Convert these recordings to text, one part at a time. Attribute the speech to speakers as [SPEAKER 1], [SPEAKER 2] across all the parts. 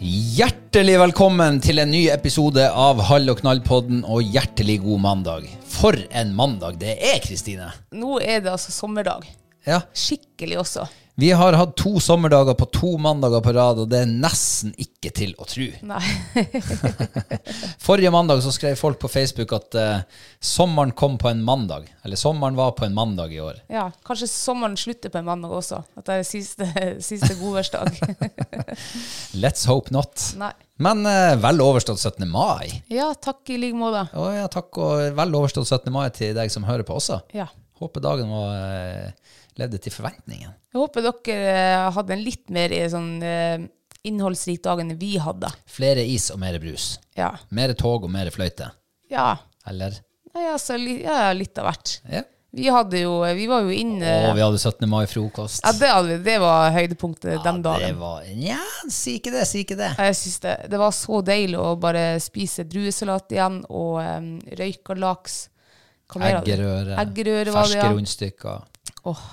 [SPEAKER 1] Hjertelig velkommen til en ny episode av Hall og knall-podden, og hjertelig god mandag. For en mandag det er, Kristine!
[SPEAKER 2] Nå er det altså sommerdag.
[SPEAKER 1] Ja.
[SPEAKER 2] Skikkelig også.
[SPEAKER 1] Vi har hatt to sommerdager på to mandager på rad, og det er nesten ikke til å tro.
[SPEAKER 2] Nei.
[SPEAKER 1] Forrige mandag så skrev folk på Facebook at eh, sommeren kom på en mandag. Eller sommeren var på en mandag i år.
[SPEAKER 2] Ja, kanskje sommeren slutter på en mandag også. At det er siste, siste godværsdag.
[SPEAKER 1] Let's hope not.
[SPEAKER 2] Nei.
[SPEAKER 1] Men eh, vel overstått 17. mai.
[SPEAKER 2] Ja, takk i like måte.
[SPEAKER 1] Å ja, takk, og vel overstått 17. mai til deg som hører på også.
[SPEAKER 2] Ja.
[SPEAKER 1] Håper dagen var, eh, levde til forventningen.
[SPEAKER 2] Jeg håper dere eh, hadde en litt mer eh, sånn eh, innholdsrik dag enn vi hadde.
[SPEAKER 1] Flere is og mer brus.
[SPEAKER 2] Ja.
[SPEAKER 1] Mer tog og mer fløyte.
[SPEAKER 2] Ja.
[SPEAKER 1] Eller?
[SPEAKER 2] Nei, altså, li, ja, litt av hvert.
[SPEAKER 1] Ja.
[SPEAKER 2] Vi hadde jo eh, Vi var jo inne
[SPEAKER 1] Og vi hadde 17. mai-frokost.
[SPEAKER 2] Ja, det, hadde vi. det var høydepunktet den
[SPEAKER 1] Det
[SPEAKER 2] dagen.
[SPEAKER 1] var Nja, si ikke det, si ikke det.
[SPEAKER 2] Jeg synes det, det var så deilig å bare spise druesalat igjen og um, røyka laks. Hva mer hadde vi?
[SPEAKER 1] Eggerøre,
[SPEAKER 2] Eggerøre var det,
[SPEAKER 1] ferske
[SPEAKER 2] ja.
[SPEAKER 1] rundstykker,
[SPEAKER 2] Åh,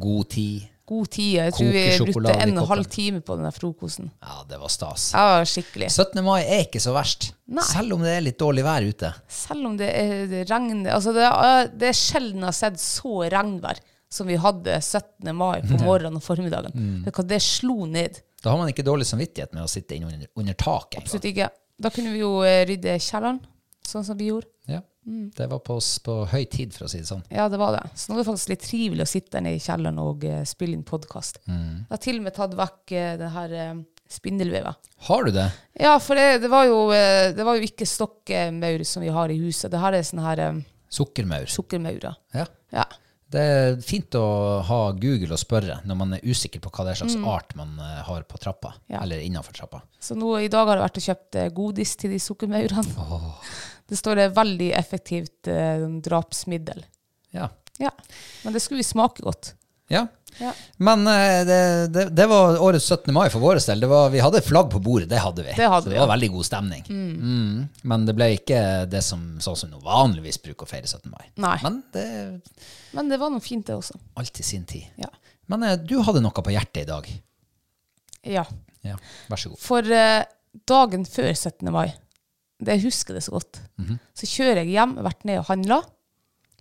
[SPEAKER 1] god tid.
[SPEAKER 2] god tid. Jeg tror vi
[SPEAKER 1] Kokesjokolade
[SPEAKER 2] brukte
[SPEAKER 1] i
[SPEAKER 2] en og
[SPEAKER 1] koppen.
[SPEAKER 2] en halv time på den der frokosten.
[SPEAKER 1] Ja, det var stas.
[SPEAKER 2] Ja, skikkelig.
[SPEAKER 1] 17. mai er ikke så verst,
[SPEAKER 2] Nei.
[SPEAKER 1] selv om det er litt dårlig vær ute.
[SPEAKER 2] Selv om det, er, det regner Altså, det er, det er sjelden jeg har sett så regnvær som vi hadde 17. mai
[SPEAKER 1] Mm.
[SPEAKER 2] på morgenen og formiddagen. Vet du hva, det slo ned.
[SPEAKER 1] Da har man ikke dårlig samvittighet med å sitte inne under, under taket. engang.
[SPEAKER 2] Absolutt ikke. Da kunne vi jo eh, rydde kjelleren, sånn som vi gjorde.
[SPEAKER 1] Ja.
[SPEAKER 2] Mm.
[SPEAKER 1] Det var på, s- på høy tid, for å si det sånn.
[SPEAKER 2] Ja, det var det. Så nå er det faktisk litt trivelig å sitte der nede i kjelleren og eh, spille inn podkast. Jeg har til og med tatt vekk eh, det her eh, spindelvevet.
[SPEAKER 1] Har du det?
[SPEAKER 2] Ja, for det, det, var jo, eh, det var jo ikke stokkmaur som vi har i huset. Det her er sånne her eh,
[SPEAKER 1] Sukkermaur.
[SPEAKER 2] sukkermaurer.
[SPEAKER 1] Ja.
[SPEAKER 2] Ja.
[SPEAKER 1] Det er fint å ha Google og spørre når man er usikker på hva det er slags art man eh, har på trappa,
[SPEAKER 2] Mm. Ja.
[SPEAKER 1] eller innenfor trappa.
[SPEAKER 2] Så nå, i dag har jeg vært og kjøpt eh, godis til de sukkermaurene. Det står det veldig effektivt eh, drapsmiddel.
[SPEAKER 1] Ja.
[SPEAKER 2] Ja. Men det skulle jo smake godt.
[SPEAKER 1] ja.
[SPEAKER 2] Ja.
[SPEAKER 1] Men eh, det, det, det var årets 17. mai for vår del. Det var, vi hadde flagg på bordet, det hadde vi.
[SPEAKER 2] Det hadde
[SPEAKER 1] Så
[SPEAKER 2] vi,
[SPEAKER 1] det var veldig god stemning. Mm. Men det ble ikke det som, sånn som vi vanligvis bruker å feire 17. mai.
[SPEAKER 2] Nei.
[SPEAKER 1] Men det er
[SPEAKER 2] Men det var noe fint, det også.
[SPEAKER 1] alltid sin tid.
[SPEAKER 2] Ja.
[SPEAKER 1] Men eh, du hadde noe på hjertet i dag.
[SPEAKER 2] ja.
[SPEAKER 1] Ja, vær så god.
[SPEAKER 2] For eh, dagen før 17. mai, det jeg husker det så godt,
[SPEAKER 1] Mhm.
[SPEAKER 2] så kjører jeg hjem, jeg har vært nede og handla.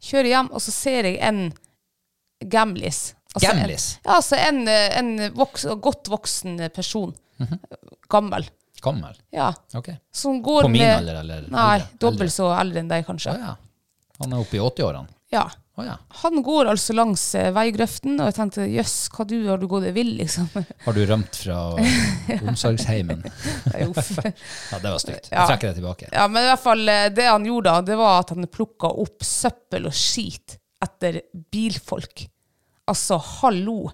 [SPEAKER 2] Kjører hjem, og så ser jeg en gamlis.
[SPEAKER 1] Gamlis?
[SPEAKER 2] En, ja, altså en, eh, en voks, godt voksen person.
[SPEAKER 1] Mhm.
[SPEAKER 2] Gammel.
[SPEAKER 1] Gammel.
[SPEAKER 2] Ja.
[SPEAKER 1] Ok.
[SPEAKER 2] Som går
[SPEAKER 1] På min
[SPEAKER 2] med,
[SPEAKER 1] alder, eller
[SPEAKER 2] Nei,
[SPEAKER 1] eldre?
[SPEAKER 2] dobbelt så eldre enn deg, kanskje.
[SPEAKER 1] Å ja. Han er oppe i 80-årene.
[SPEAKER 2] Ja.
[SPEAKER 1] Å ja.
[SPEAKER 2] Han går altså langs eh, veigrøften, og jeg tenkte jøss, hva du har du gått deg vill, liksom.
[SPEAKER 1] Har du rømt fra omsorgsheimen?
[SPEAKER 2] Nei, uff.
[SPEAKER 1] Ja, det var stygt.
[SPEAKER 2] Ja.
[SPEAKER 1] Jeg trekker det tilbake.
[SPEAKER 2] Ja, men i hvert fall eh, det han gjorde da, det var at han plukka opp søppel og skit etter bilfolk. Altså, hallo.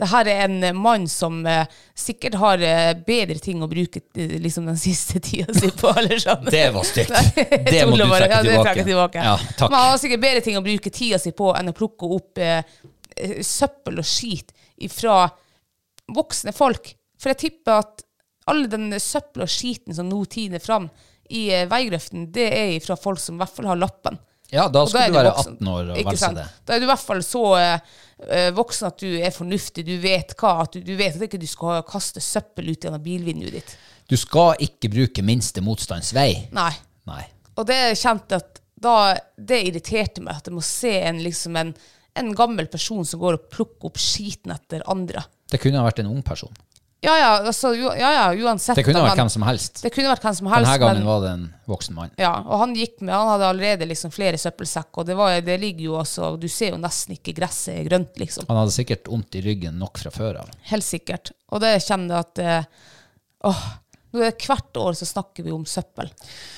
[SPEAKER 2] Det her er en eh, mann som eh, sikkert har eh, bedre ting å bruke eh, liksom den siste tida si på. eller sånn.
[SPEAKER 1] Det var stygt.
[SPEAKER 2] Nei, jeg
[SPEAKER 1] Det må
[SPEAKER 2] tuller
[SPEAKER 1] du
[SPEAKER 2] bare.
[SPEAKER 1] trekke
[SPEAKER 2] Ja, det
[SPEAKER 1] tilbake.
[SPEAKER 2] trekker jeg tilbake.
[SPEAKER 1] Ja, takk.
[SPEAKER 2] Men altså, han har sikkert bedre ting å bruke tida si på enn å plukke opp eh, eh, søppel og skit fra voksne folk. For jeg tipper at alle den søppel og skiten som nå tiner fram i eh, veigrøften, det er fra folk som i hvert fall har lappen.
[SPEAKER 1] Ja, da
[SPEAKER 2] Og da
[SPEAKER 1] skulle
[SPEAKER 2] er
[SPEAKER 1] du være
[SPEAKER 2] voksen.
[SPEAKER 1] 18 år og
[SPEAKER 2] Ikke
[SPEAKER 1] velge
[SPEAKER 2] sant?
[SPEAKER 1] det.
[SPEAKER 2] Da er du i hvert fall så eh, voksen at du er fornuftig, du vet hva, at du, du vet at ikke du skal kaste søppel ut gjennom bilvinduet ditt.
[SPEAKER 1] Du skal ikke bruke minste motstands vei.
[SPEAKER 2] Nei.
[SPEAKER 1] Nei.
[SPEAKER 2] Og det kjente jeg at da, det irriterte meg, at jeg må se en, liksom en, en gammel person som går og plukker opp skiten etter andre.
[SPEAKER 1] Det kunne ha vært en ung person.
[SPEAKER 2] Ja ja, altså, jo, ja, ja uansett.
[SPEAKER 1] Det kunne
[SPEAKER 2] om
[SPEAKER 1] ha vært
[SPEAKER 2] han-
[SPEAKER 1] hvem som helst.
[SPEAKER 2] det kunne vært hvem som helst.
[SPEAKER 1] Denne gangen
[SPEAKER 2] men-
[SPEAKER 1] var det en voksen mann.
[SPEAKER 2] Ja, og han gikk med, han hadde allerede liksom flere søppelsekker, og det, var, det ligger jo også, du ser jo nesten ikke gresset er grønt, liksom.
[SPEAKER 1] Han hadde sikkert vondt i ryggen nok fra før av.
[SPEAKER 2] Helt sikkert. Og det kjenner jeg at eh, åh, nå er det Hvert år så snakker vi om søppel.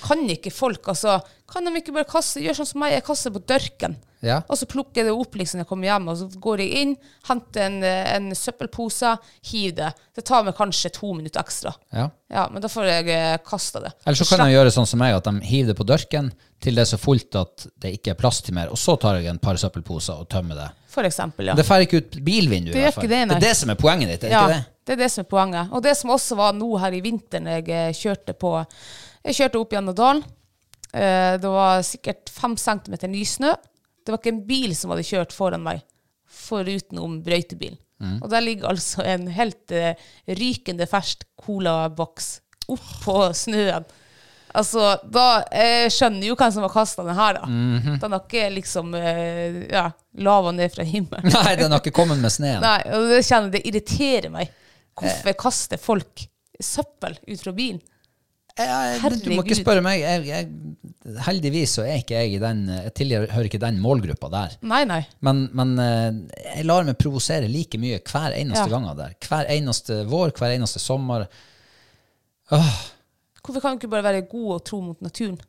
[SPEAKER 2] Kan ikke folk altså, kan de ikke bare kaste, gjøre sånn som meg, jeg kaster på dørken.
[SPEAKER 1] Ja.
[SPEAKER 2] Og så plukker jeg det opp liksom når jeg kommer hjem, og så går jeg inn, henter en, eh, en søppelpose, hiver det. Det tar meg kanskje to minutter ekstra.
[SPEAKER 1] Ja.
[SPEAKER 2] Ja, men da får jeg eh, kasta det.
[SPEAKER 1] Eller så kan de gjøre sånn som meg, at de hiver det på dørken til det er så fullt at det ikke er plass til mer, og så tar jeg en par søppelposer og tømmer det.
[SPEAKER 2] For eksempel, ja.
[SPEAKER 1] Det får ikke ut bilvinduet,
[SPEAKER 2] Det
[SPEAKER 1] i
[SPEAKER 2] gjør
[SPEAKER 1] hvert fall.
[SPEAKER 2] ikke det, nei.
[SPEAKER 1] er det som er poenget ditt, er
[SPEAKER 2] ja,
[SPEAKER 1] ikke det?
[SPEAKER 2] det er det som er poenget. Og det som også var nå her i vinteren jeg eh, kjørte på Jeg kjørte opp gjennom dalen. Eh, Det var sikkert fem centimeter nysnø. Det var ikke en bil som hadde kjørt foran meg, forutenom brøytebilen.
[SPEAKER 1] Mm.
[SPEAKER 2] Og der ligger altså en helt eh, rykende fersk colaboks oppå snøen. Altså, da eh, skjønner jo hvem som har kasta den her, da.
[SPEAKER 1] Mhm.
[SPEAKER 2] Den har ikke liksom eh, ja, lava ned fra himmelen.
[SPEAKER 1] Nei, den har ikke kommet med sneen.
[SPEAKER 2] Nei, og det kjenner jeg, det irriterer meg. Hvorfor kaster folk søppel ut fra bilen?
[SPEAKER 1] Jeg- jeg- Du må ikke
[SPEAKER 2] Herregud.
[SPEAKER 1] spørre meg. Jeg, jeg, heldigvis så er ikke jeg i den Jeg tilhører ikke den målgruppa der.
[SPEAKER 2] Nei, nei.
[SPEAKER 1] Men, men eh, jeg lar meg provosere like mye hver eneste
[SPEAKER 2] Ja.
[SPEAKER 1] gang av det her. Hver eneste vår, hver eneste sommer.
[SPEAKER 2] Hvorfor kan du ikke bare være god og tro mot naturen?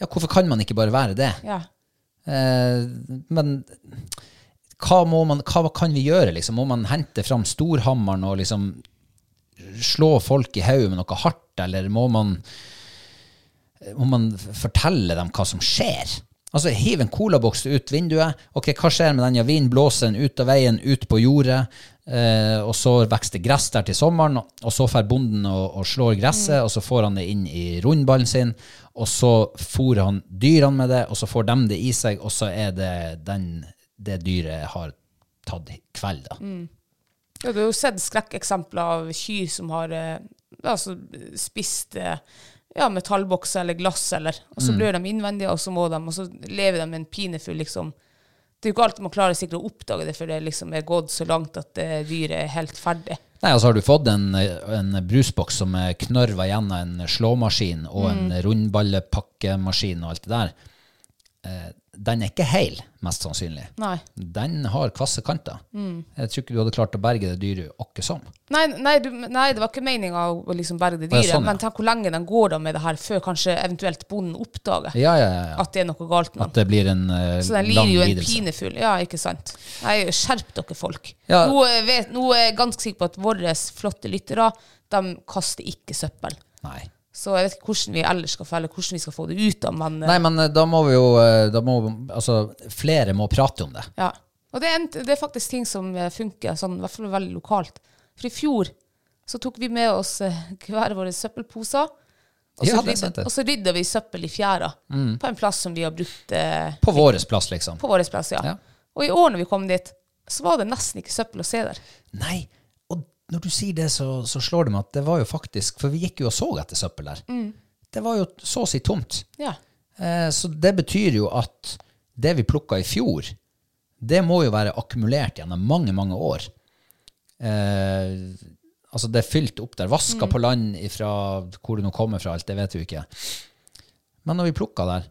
[SPEAKER 1] Ja, hvorfor kan man ikke bare være det?
[SPEAKER 2] Ja.
[SPEAKER 1] Eh, men hva, må man, hva kan vi gjøre? Liksom? Må man hente fram storhammeren og liksom slå folk i hodet med noe hardt, eller må man, må man fortelle dem hva som skjer? Altså, Hiv en colaboks ut vinduet. Ok, Hva skjer med den? Ja, Vinden blåser den ut av veien, ut på jordet. Eh, og så vokser det gress der til sommeren, og så får bonden og, og slår gresset, og så får han det inn i rundballen sin, og så fôrer han dyrene med det, og så får de det i seg, og så er det den, det dyret har tatt i kveld, da.
[SPEAKER 2] Ja, du har jo sett skrekkeksempler av kyr som har eh, altså, spist eh, ja, metallbokser eller glass, eller, og så blør de innvendig, og så må de, og så lever de med en pinefull liksom. Det er jo ikke alltid man klarer sikkert å oppdage det, for det liksom er gått så langt at eh, dyret er helt ferdig.
[SPEAKER 1] Nei, altså Har du fått en, en brusboks som er knørva gjennom en slåmaskin og en
[SPEAKER 2] Mm.
[SPEAKER 1] rundballepakkemaskin og alt det der, eh, den er ikke heil, mest sannsynlig.
[SPEAKER 2] Nei.
[SPEAKER 1] Den har kvasse kanter.
[SPEAKER 2] Mm.
[SPEAKER 1] Jeg tror ikke du hadde klart å berge det dyret sånn. åkke som.
[SPEAKER 2] Nei, nei, du, nei, det var ikke meninga å å liksom berge det
[SPEAKER 1] Å, ja,
[SPEAKER 2] dyret.
[SPEAKER 1] sånn, ja.
[SPEAKER 2] Men tenk hvor lenge den går da med det her før kanskje eventuelt bonden oppdager
[SPEAKER 1] Ja, ja, ja. ja.
[SPEAKER 2] at det er noe galt med
[SPEAKER 1] At
[SPEAKER 2] den.
[SPEAKER 1] det blir en eh,
[SPEAKER 2] Så den
[SPEAKER 1] lang
[SPEAKER 2] lider jo en
[SPEAKER 1] lidelse.
[SPEAKER 2] pinefull. Ja, ikke sant. Nei, skjerp dere, folk.
[SPEAKER 1] Ja.
[SPEAKER 2] Nå, eh, vet, nå er jeg ganske sikker på at våre flotte lyttere, de kaster ikke søppel.
[SPEAKER 1] Nei.
[SPEAKER 2] Så jeg vet ikke hvordan vi ellers skal felle, hvordan vi skal få det ut av, men eh,
[SPEAKER 1] Nei, men eh, da må vi jo eh, da må, Altså, flere må prate om det.
[SPEAKER 2] Ja. Og det er, en, det er faktisk ting som eh, funker, sånn, i hvert fall veldig lokalt. For i fjor så tok vi med oss eh, hver våre søppelposer. Og så,
[SPEAKER 1] Ja, det er sant
[SPEAKER 2] rydda,
[SPEAKER 1] det. Mm.
[SPEAKER 2] og så rydda vi søppel i fjæra, på en plass som vi har brukt eh,
[SPEAKER 1] På vår plass, liksom.
[SPEAKER 2] på vår plass. Ja.
[SPEAKER 1] Ja.
[SPEAKER 2] Og i år når vi kom dit, så var det nesten ikke søppel å se der.
[SPEAKER 1] Nei, og når du sier det, så, så slår det meg at det var jo faktisk For vi gikk jo og så etter søppel der. Det var jo så å si tomt.
[SPEAKER 2] Ja.
[SPEAKER 1] Eh, så det betyr jo at det vi plukka i fjor, det må jo være akkumulert gjennom mange, mange år. Eh, altså, det er fylt opp der. Vaska på land ifra hvor det nå kommer fra, alt det vet vi jo ikke. Men når vi plukka der,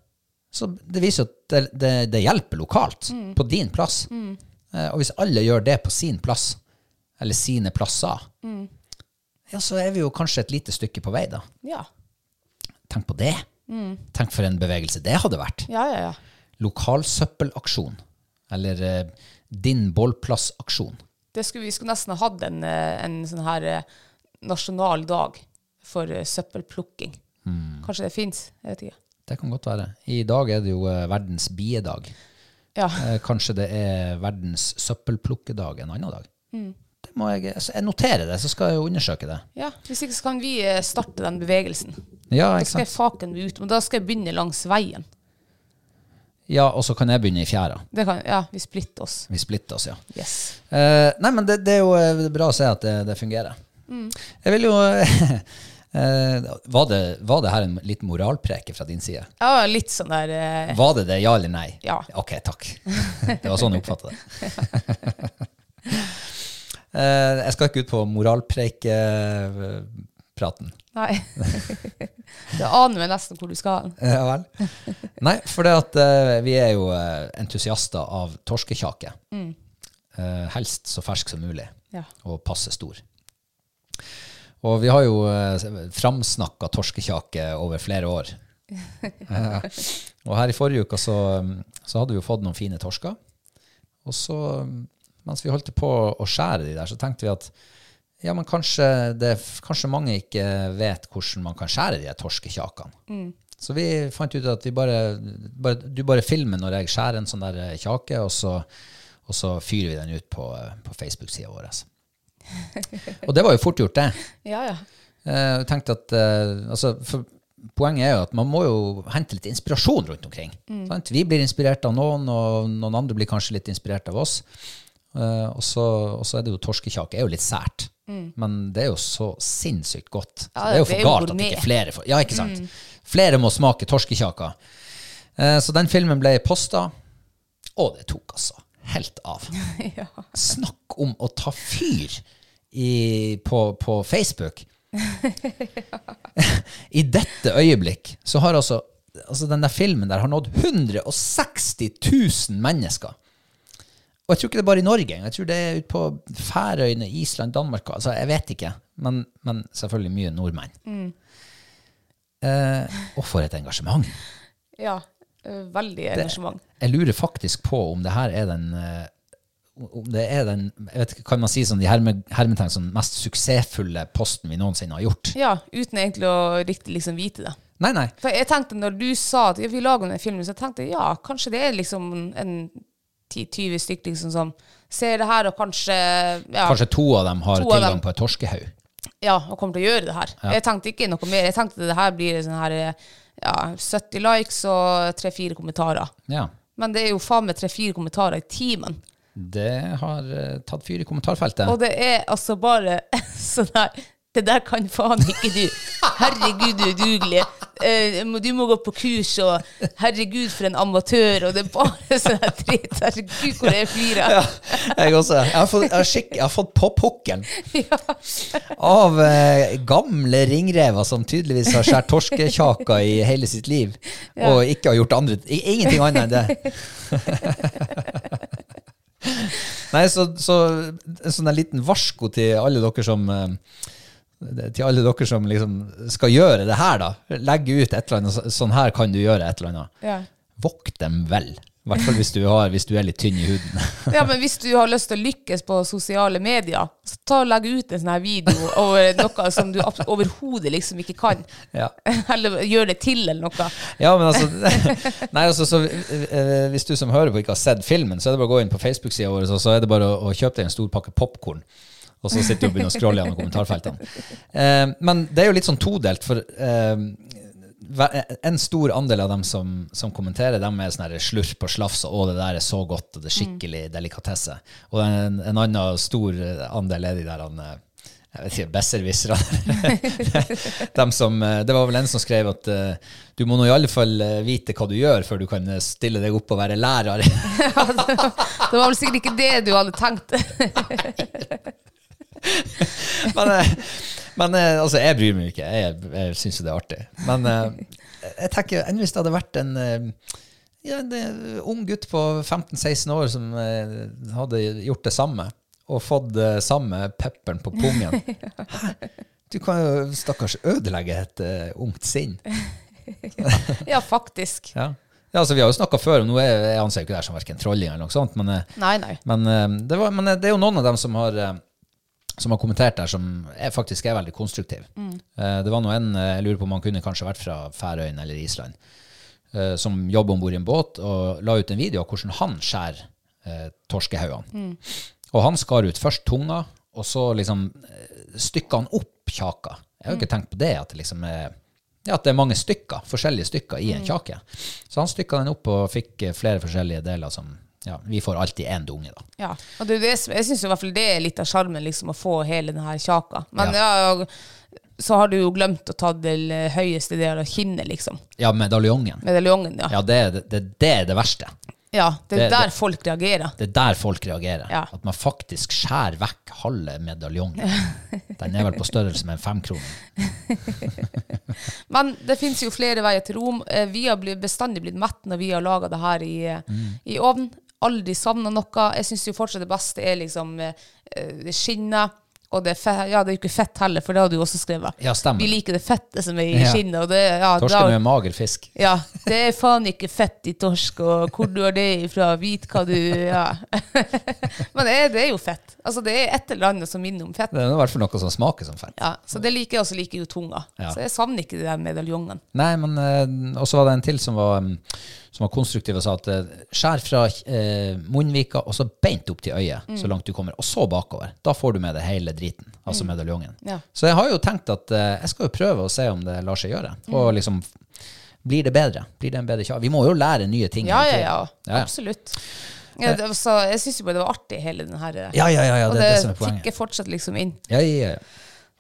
[SPEAKER 1] så det viser jo at det, det, det hjelper lokalt, på din plass. Eh, og hvis alle gjør det på sin plass, eller sine plasser, ja, så er vi jo kanskje et lite stykke på vei, da.
[SPEAKER 2] Ja.
[SPEAKER 1] Tenk på det. Tenk for en bevegelse det hadde vært.
[SPEAKER 2] Ja, ja, ja.
[SPEAKER 1] Lokalsøppelaksjon, eller eh, din bollplassaksjon.
[SPEAKER 2] Det skulle, vi skulle nesten ha hatt en, eh, en sånn her eh, nasjonal dag for eh, søppelplukking.
[SPEAKER 1] Mm.
[SPEAKER 2] Kanskje det fins? Jeg vet ikke.
[SPEAKER 1] Det kan godt være. I dag er det jo eh, verdens biedag.
[SPEAKER 2] Ja.
[SPEAKER 1] Eh, Kanskje det er verdens søppelplukkedag en annen dag. Det må jeg, altså, jeg noterer det, så skal jeg jo undersøke det.
[SPEAKER 2] ja. Hvis ikke så kan vi eh, starte den bevegelsen.
[SPEAKER 1] Ja,
[SPEAKER 2] Da
[SPEAKER 1] ikke
[SPEAKER 2] skal jeg
[SPEAKER 1] sant?
[SPEAKER 2] faken meg ut, men da skal jeg begynne langs veien.
[SPEAKER 1] ja, og så kan jeg begynne i fjæra.
[SPEAKER 2] Det kan, ja, vi splitter oss.
[SPEAKER 1] Vi splitter oss, ja.
[SPEAKER 2] Yes.
[SPEAKER 1] Eh, nei, men det, det er jo eh, bra å se at det, det fungerer. Jeg vil jo eh, var, det, var det her en litt moralpreke fra din side?
[SPEAKER 2] Ja, litt sånn der eh,
[SPEAKER 1] Var det det, ja eller nei?
[SPEAKER 2] Ja.
[SPEAKER 1] Ok, takk. Det var sånn jeg oppfattet det. Eh, jeg skal ikke ut på moralpreikepraten.
[SPEAKER 2] Nei. det aner meg nesten hvor du skal hen.
[SPEAKER 1] Ja vel? Nei, for det at eh, vi er jo eh, entusiaster av torskekjake. Eh, helst så fersk som mulig,
[SPEAKER 2] Ja.
[SPEAKER 1] og passe stor. Og vi har jo uh, framsnakka torskekjake over flere år. Eh, og her i forrige uke så, mm, så hadde vi jo fått noen fine torsker. Og så, mm, mens vi holdt på å skjære de der, så tenkte vi at ja, men kanskje, det, kanskje mange ikke vet hvordan man kan skjære de her torskekjakene. Så vi fant ut at vi bare, bare, du bare filmer når jeg skjærer en sånn der eh, kjake, og så, og så fyrer vi den ut på, eh, på Facebook-sida vår. altså. Og det var jo fort gjort, det.
[SPEAKER 2] Ja, ja.
[SPEAKER 1] Eh, Jeg tenkte at eh, altså, for Poenget er jo at man må jo hente litt inspirasjon rundt omkring.
[SPEAKER 2] Mm.
[SPEAKER 1] Sant? Vi blir inspirert av noen, og noen andre blir kanskje litt inspirert av oss. Eh, og, så, og så er det jo torskekjake. er jo litt sært, men det er jo så sinnssykt godt. Så
[SPEAKER 2] Mm. Ja,
[SPEAKER 1] det er jo
[SPEAKER 2] det er
[SPEAKER 1] for
[SPEAKER 2] jo
[SPEAKER 1] galt at
[SPEAKER 2] gourmet. Mm.
[SPEAKER 1] ikke flere får Ja, ikke sant? Flere må smake torskekjaka. Eh, så den filmen ble posta, og det tok altså helt av. Snakk om å ta fyr i, på, på Facebook. I dette øyeblikk så har altså, altså den der filmen der har nådd 160 000 mennesker. Og jeg tror ikke det er bare i Norge. engang. Jeg tror det er ute på Færøyene, Island, Danmark altså Jeg vet ikke. Men, men selvfølgelig mye nordmenn. Eh, og for et engasjement.
[SPEAKER 2] ja. eh, Veldig engasjement.
[SPEAKER 1] Jeg lurer faktisk på om det her er den eh, om det er den jeg vet, ikke, Kan man si sånn, de herme, hermetegn sånn mest suksessfulle posten vi noensinne har gjort?
[SPEAKER 2] Ja, uten egentlig å riktig liksom vite det.
[SPEAKER 1] Nei, nei.
[SPEAKER 2] For jeg tenkte når du sa at vi lager den filmen, så tenkte jeg ja, kanskje det er liksom en 10-20 stykker liksom som ser det her, og kanskje ja,
[SPEAKER 1] Kanskje to av dem har
[SPEAKER 2] To av
[SPEAKER 1] tilgang
[SPEAKER 2] dem.
[SPEAKER 1] på et torskehaug.
[SPEAKER 2] ja, og kommer til å gjøre det her. Jeg tenkte ikke noe mer. Jeg tenkte det her blir sånn her ja, 70 likes og 3-4 kommentarer.
[SPEAKER 1] Ja.
[SPEAKER 2] Men det er jo faen meg 3-4 kommentarer i timen.
[SPEAKER 1] Det har eh, tatt fyr i kommentarfeltet.
[SPEAKER 2] Og det er altså bare sånn her Det der kan faen ikke du. Herregud, du er udugelig. Eh, må- Du må gå på kurs, og herregud, for en amatør. Og det er bare sånn her dritt. Herregud, hvor jeg flirer.
[SPEAKER 1] Ja, jeg også. Jeg har fått, jeg har skikk, jeg har fått på pukkelen av eh, gamle ringrever som tydeligvis har skåret torskekjaker i hele sitt liv, og ikke har gjort andre i- ingenting annet enn det. Nei, så, så en sånn en liten varsko til alle dere som eh, til alle dere som liksom skal gjøre det her, da. Legge ut et eller annet. så- Sånn her kan du gjøre et eller annet.
[SPEAKER 2] Ja.
[SPEAKER 1] Vokt dem vel. I hvert fall hvis du, har, hvis du er litt tynn i huden.
[SPEAKER 2] Ja, men hvis du har lyst til å lykkes på sosiale medier, så ta og legg ut en sånn her video over noe som du abs- overhodet liksom ikke kan.
[SPEAKER 1] Ja.
[SPEAKER 2] Eller gjør det til, eller noe.
[SPEAKER 1] Ja, men altså, nei, altså så, eh, Hvis du som hører på ikke har sett filmen, så er det bare å gå inn på Facebook-sida vår, så, så er det bare å, å kjøpe deg en stor pakke popkorn. Og så sitter du og begynner å scrolle gjennom kommentarfeltene. Eh, men det er jo litt sånn todelt, for eh, hver- en stor andel av dem som, som kommenterer, dem er sånn her slurp og slafs og 'å, det der er så godt', og det er skikkelig delikatesse. Og en, en annen stor andel er de der han, eh, jeg vet ikke, besserwisserne. Dem som, eh, det var vel en som skrev at eh, du må nå i alle fall eh, vite hva du gjør før du kan eh, stille deg opp og være lærer.
[SPEAKER 2] Det var vel sikkert ikke det du hadde tenkt.
[SPEAKER 1] men eh, men eh, altså, jeg bryr meg ikke. Jeg, jeg syns jo det er artig. Men eh, jeg tenker, enn hvis det hadde vært en eh, ja, en eh, ung gutt på 15-16 år som eh, hadde gjort det samme, og fått det samme pepperen på pungen. Hæ? Du kan jo stakkars ødelegge et eh, ungt sinn.
[SPEAKER 2] Ja, faktisk.
[SPEAKER 1] Ja. Ja, altså, vi har jo snakka før om Nå er- jeg anser jo ikke det her som verken trolling eller noe sånt, men, eh,
[SPEAKER 2] Nei, nei.
[SPEAKER 1] men, eh, det, var, men eh, det er jo noen av dem som har eh, som har kommentert der, som er, faktisk er veldig konstruktiv. Eh, Det var nå en eh, jeg lurer på om han kunne kanskje vært fra Færøyene eller Island, eh, som jobber om bord i en båt, og la ut en video av hvordan han skjærer eh, torskehaugene. Og han skar ut først tunga, og så liksom eh, stykka han opp kjaka. Jeg har jo ikke
[SPEAKER 2] Mm.
[SPEAKER 1] tenkt på det, at det liksom er ja, at det er mange stykker, forskjellige stykker
[SPEAKER 2] Mm.
[SPEAKER 1] i en kjake. Så han stykka den opp og fikk eh, flere forskjellige deler som ja, Vi får alltid én dunge, da.
[SPEAKER 2] Ja, og det, er jo det, som- jeg syns i hvert fall det er litt av sjarmen, liksom, å få hele den her kjaka. Men ja. så har du jo glemt å ta det høyeste del av kinnet, liksom.
[SPEAKER 1] Ja, medaljongen.
[SPEAKER 2] Medaljongen, ja.
[SPEAKER 1] Ja, det, er det, det, det er det verste.
[SPEAKER 2] Ja, det er
[SPEAKER 1] Det-
[SPEAKER 2] der
[SPEAKER 1] det-
[SPEAKER 2] folk reagerer.
[SPEAKER 1] Det er der folk reagerer.
[SPEAKER 2] Ja.
[SPEAKER 1] At man faktisk skjærer vekk halve medaljongen. Den er vel på størrelse med en femkroning.
[SPEAKER 2] Men det fins jo flere veier til Rom. Eh, Vi har blitt, bestandig blitt mett når vi har laga det her i, eh,
[SPEAKER 1] Mm.
[SPEAKER 2] i ovnen. Aldri savna noe. Jeg syns jo fortsatt det beste er liksom eh, eh, skinnet. Og det er fe ja, det er jo ikke fett heller, for det har du jo også skrevet.
[SPEAKER 1] Ja, stemmer.
[SPEAKER 2] Vi liker det fettet som er i
[SPEAKER 1] Ja.
[SPEAKER 2] skinnet. Og det, ja, da-
[SPEAKER 1] Torsken er en mager fisk.
[SPEAKER 2] Ja, det er faen ikke fett i torsk, og hvor du har det ifra, vit hva du Ja. Men det er, det er jo fett. Altså, det er et eller annet som minner om fett.
[SPEAKER 1] Det er i hvert fall noe som smaker som fett.
[SPEAKER 2] Ja, så det liker jeg, og så liker jeg jo tunga.
[SPEAKER 1] Ja.
[SPEAKER 2] Så jeg savner ikke de der medaljongene.
[SPEAKER 1] Nei, men eh, også var det en til som var, mm, som var konstruktiv og sa at eh, skjær fra eh, munnvika og så beint opp til øyet
[SPEAKER 2] Mm.
[SPEAKER 1] så langt du kommer, og så bakover. Da får du med deg hele driten, altså medaljongen.
[SPEAKER 2] Ja.
[SPEAKER 1] Så jeg har jo tenkt at eh, jeg skal jo prøve å se om det lar seg gjøre.
[SPEAKER 2] Mm.
[SPEAKER 1] Og liksom, blir det bedre? Blir det en bedre kjær? Vi må jo lære nye ting.
[SPEAKER 2] Ja,
[SPEAKER 1] hele
[SPEAKER 2] ja,
[SPEAKER 1] tiden.
[SPEAKER 2] ja.
[SPEAKER 1] Ja, ja.
[SPEAKER 2] Absolutt. Ja, det, var så, jeg syns jo bare det var artig, hele den her
[SPEAKER 1] Ja, ja, ja, ja
[SPEAKER 2] Og
[SPEAKER 1] det, er det som
[SPEAKER 2] det
[SPEAKER 1] er poenget.
[SPEAKER 2] tikker fortsatt liksom inn.
[SPEAKER 1] Ja, ja, ja.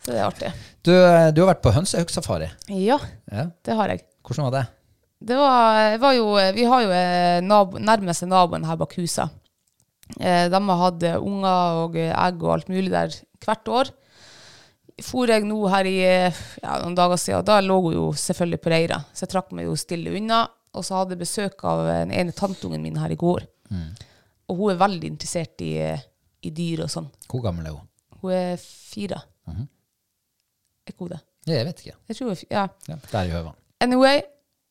[SPEAKER 2] Så det er artig.
[SPEAKER 1] Du, eh, du har vært på hønsehuggsafari.
[SPEAKER 2] Ja,
[SPEAKER 1] Ja.
[SPEAKER 2] det har jeg.
[SPEAKER 1] Hvordan var det?
[SPEAKER 2] Det var, var jo, vi har jo eh, nabo, nærmeste naboen her bak huset. Eh, De har hatt eh, unger og eh, egg og alt mulig der hvert år. For jeg nå her i eh, ja, noen dager siden, og da lå hun jo selvfølgelig på reira. Så jeg trakk meg jo stille unna. Og så hadde jeg besøk av den ene tanteungen min her i går. Og hun er veldig interessert i, eh, i dyr og sånn.
[SPEAKER 1] Hvor gammel er hun?
[SPEAKER 2] Hun er fire. Er ikke hun det?
[SPEAKER 1] Ja, Jeg vet ikke.
[SPEAKER 2] Jeg tror hun er fi- ja.
[SPEAKER 1] Ja, der i høvene.
[SPEAKER 2] Anyway,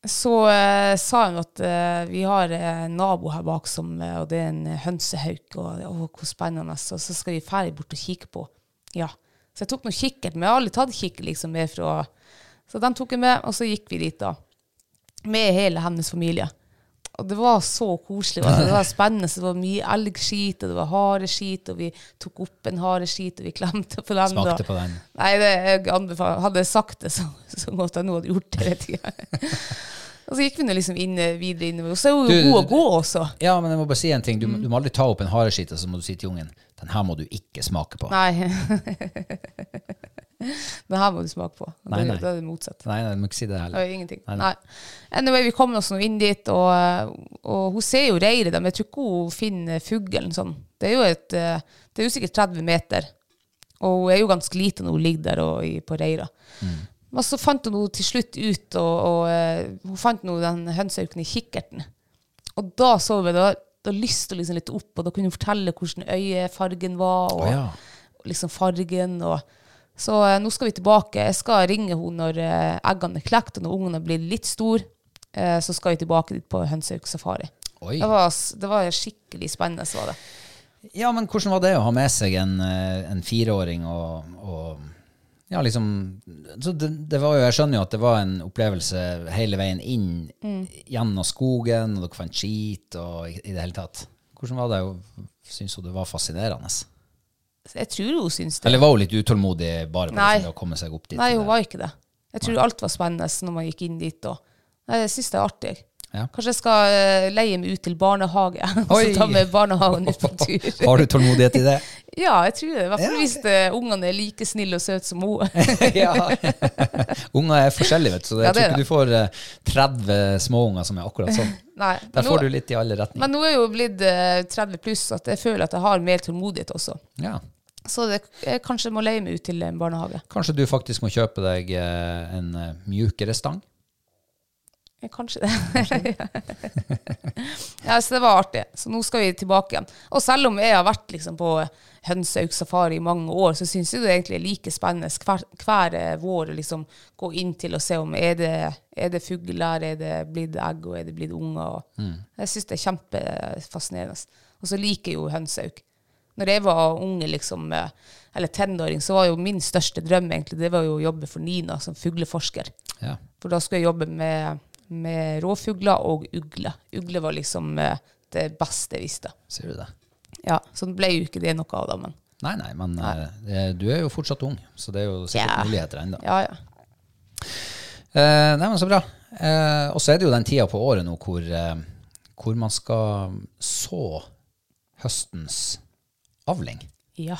[SPEAKER 2] så eh, sa hun at eh, vi har eh, en nabo her bak, som, eh, og det er en eh, hønsehauk, og å, hvor spennende, og så skal vi ferdig bort og kikke på. Ja, så jeg tok noen kikkert, men jeg har aldri tatt kikkert liksom med fra, så den tok jeg med, og så gikk vi dit da, med hele hennes familie. Og det var så koselig, og det var spennende, så det var mye elgskit, og det var hareskit, og vi tok opp en hareskit, og vi klemte på den.
[SPEAKER 1] Smakte
[SPEAKER 2] og-
[SPEAKER 1] på den.
[SPEAKER 2] Nei, det, jeg anbefaler. Hadde jeg sagt det, så, så godt jeg nå hadde gjort det. vet jeg. og så gikk vi nå liksom inn, videre innover. Og så er hun jo
[SPEAKER 1] Du-
[SPEAKER 2] god å gå også.
[SPEAKER 1] Ja, men jeg må bare si en ting. Du,
[SPEAKER 2] Mm.
[SPEAKER 1] du må aldri ta opp en hareskit, og så må du si til ungen den her må du ikke smake på.
[SPEAKER 2] Nei. det her må du smake på.
[SPEAKER 1] Nei, nei.
[SPEAKER 2] Det, det er det motsatt.
[SPEAKER 1] Nei, nei, du må ikke si det
[SPEAKER 2] Det
[SPEAKER 1] heller.
[SPEAKER 2] er ingenting.
[SPEAKER 1] Nei,
[SPEAKER 2] Nei,
[SPEAKER 1] nei.
[SPEAKER 2] Anyway, vi kom oss nå inn dit, og, og hun ser jo reiret, men jeg tror ikke hun finner fuglen sånn. Det er jo, et, eh, det er jo sikkert 30 meter, og hun er jo ganske liten når hun ligger der og, i- på reira.
[SPEAKER 1] Mm.
[SPEAKER 2] Men så fant hun henne til slutt ut, og, og eh, hun fant nå den hønsehauken i kikkerten. Og da så vi, da, da lyste hun liksom litt opp, og da kunne hun fortelle hvordan øyefargen var, og
[SPEAKER 1] Å, ja.
[SPEAKER 2] liksom fargen. Og, så eh, nå skal vi tilbake. Jeg skal ringe henne når eh, eggene er klekt, og når ungene blir litt store. Eh, så skal vi tilbake dit på hønsehauksafari.
[SPEAKER 1] Oi.
[SPEAKER 2] Det, var s- det var skikkelig spennende. så var det.
[SPEAKER 1] Ja, men hvordan var det å ha med seg en, eh, en fireåring og, og Ja, liksom så det, det var jo, Jeg skjønner jo at det var en opplevelse hele veien inn
[SPEAKER 2] Mm.
[SPEAKER 1] gjennom skogen, og dere fant skit og i, i det hele tatt. Hvordan var det? Syns hun det var fascinerende?
[SPEAKER 2] Så Jeg tror hun syns det.
[SPEAKER 1] Eller var hun litt utålmodig bare på
[SPEAKER 2] Nei.
[SPEAKER 1] det å komme seg opp dit?
[SPEAKER 2] Nei,
[SPEAKER 1] til
[SPEAKER 2] hun
[SPEAKER 1] det?
[SPEAKER 2] var ikke det. Jeg tror alt var spennende når man gikk inn dit. Og. Nei, jeg syns det er artig.
[SPEAKER 1] Ja.
[SPEAKER 2] Kanskje jeg skal eh, leie meg ut til barnehage. og
[SPEAKER 1] Oi!
[SPEAKER 2] så ta med barnehagen ut på tur.
[SPEAKER 1] Har du tålmodighet i det?
[SPEAKER 2] Ja, jeg tror det. I hvert
[SPEAKER 1] Ja,
[SPEAKER 2] fall hvis eh, ungene er like snille og søte som hun.
[SPEAKER 1] ja. Unger er forskjellige, vet du, så jeg
[SPEAKER 2] Ja, det
[SPEAKER 1] tror
[SPEAKER 2] er
[SPEAKER 1] ikke du får eh, 30 småunger som er akkurat sånn.
[SPEAKER 2] Nei,
[SPEAKER 1] Der
[SPEAKER 2] nå-
[SPEAKER 1] får du litt i alle retninger.
[SPEAKER 2] Men nå er jeg jo blitt eh, 30 pluss, så at jeg føler at jeg har mer tålmodighet også.
[SPEAKER 1] Ja.
[SPEAKER 2] Så det, jeg kanskje må leie meg ut til en barnehage.
[SPEAKER 1] Kanskje du faktisk må kjøpe deg eh, en eh, mjukere stang?
[SPEAKER 2] Ja, Kanskje det. ja, så det var artig. Så nå skal vi tilbake igjen. Og selv om jeg har vært liksom, på hønsehaug-safari i mange år, så syns jeg det egentlig er like spennende hver, hver eh, vår å liksom, gå inn til og se om er det er det fugler, er det blitt egg, og er det blitt unger. Og Jeg syns det er kjempefascinerende. Og så liker jeg jo hønsehaug. Når jeg var unge, liksom, eh, eller tenåring, så var jo min største drøm egentlig, det var jo å jobbe for Nina som fugleforsker.
[SPEAKER 1] Ja.
[SPEAKER 2] For da skulle jeg jobbe med, med råfugler og ugler. Ugler var liksom eh, det beste jeg visste.
[SPEAKER 1] Ser du det?
[SPEAKER 2] Ja, så det ble jo ikke det noe av det, men
[SPEAKER 1] Nei, nei, men eh, det- du er jo fortsatt ung, så det er jo sikkert
[SPEAKER 2] Ja.
[SPEAKER 1] muligheter ennå.
[SPEAKER 2] ja, ja.
[SPEAKER 1] Eh, nei, men så bra. Eh, og så er det jo den tida på året nå hvor, eh, hvor man skal så høstens avling.
[SPEAKER 2] Ja.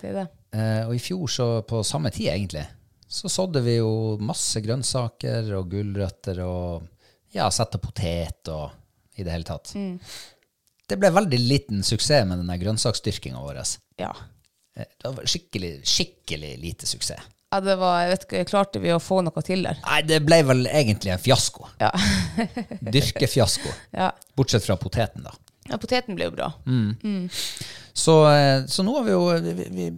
[SPEAKER 2] Det er det.
[SPEAKER 1] Eh, og i fjor, så på samme tid egentlig, så sådde vi jo masse grønnsaker og gulrøtter og ja, sette potet og i det hele tatt. Det ble veldig liten suksess med den der grønnsaksdyrkinga vår.
[SPEAKER 2] Ja.
[SPEAKER 1] Eh, Det var skikkelig, skikkelig lite suksess.
[SPEAKER 2] ja det var, jeg vet ikke, klarte vi å få noe til der?
[SPEAKER 1] Nei, det ble vel egentlig en fiasko.
[SPEAKER 2] Ja.
[SPEAKER 1] Dyrkefiasko.
[SPEAKER 2] ja.
[SPEAKER 1] Bortsett fra poteten, da.
[SPEAKER 2] Ja, poteten ble jo bra.
[SPEAKER 1] Så, eh, så nå har vi jo vi, vi,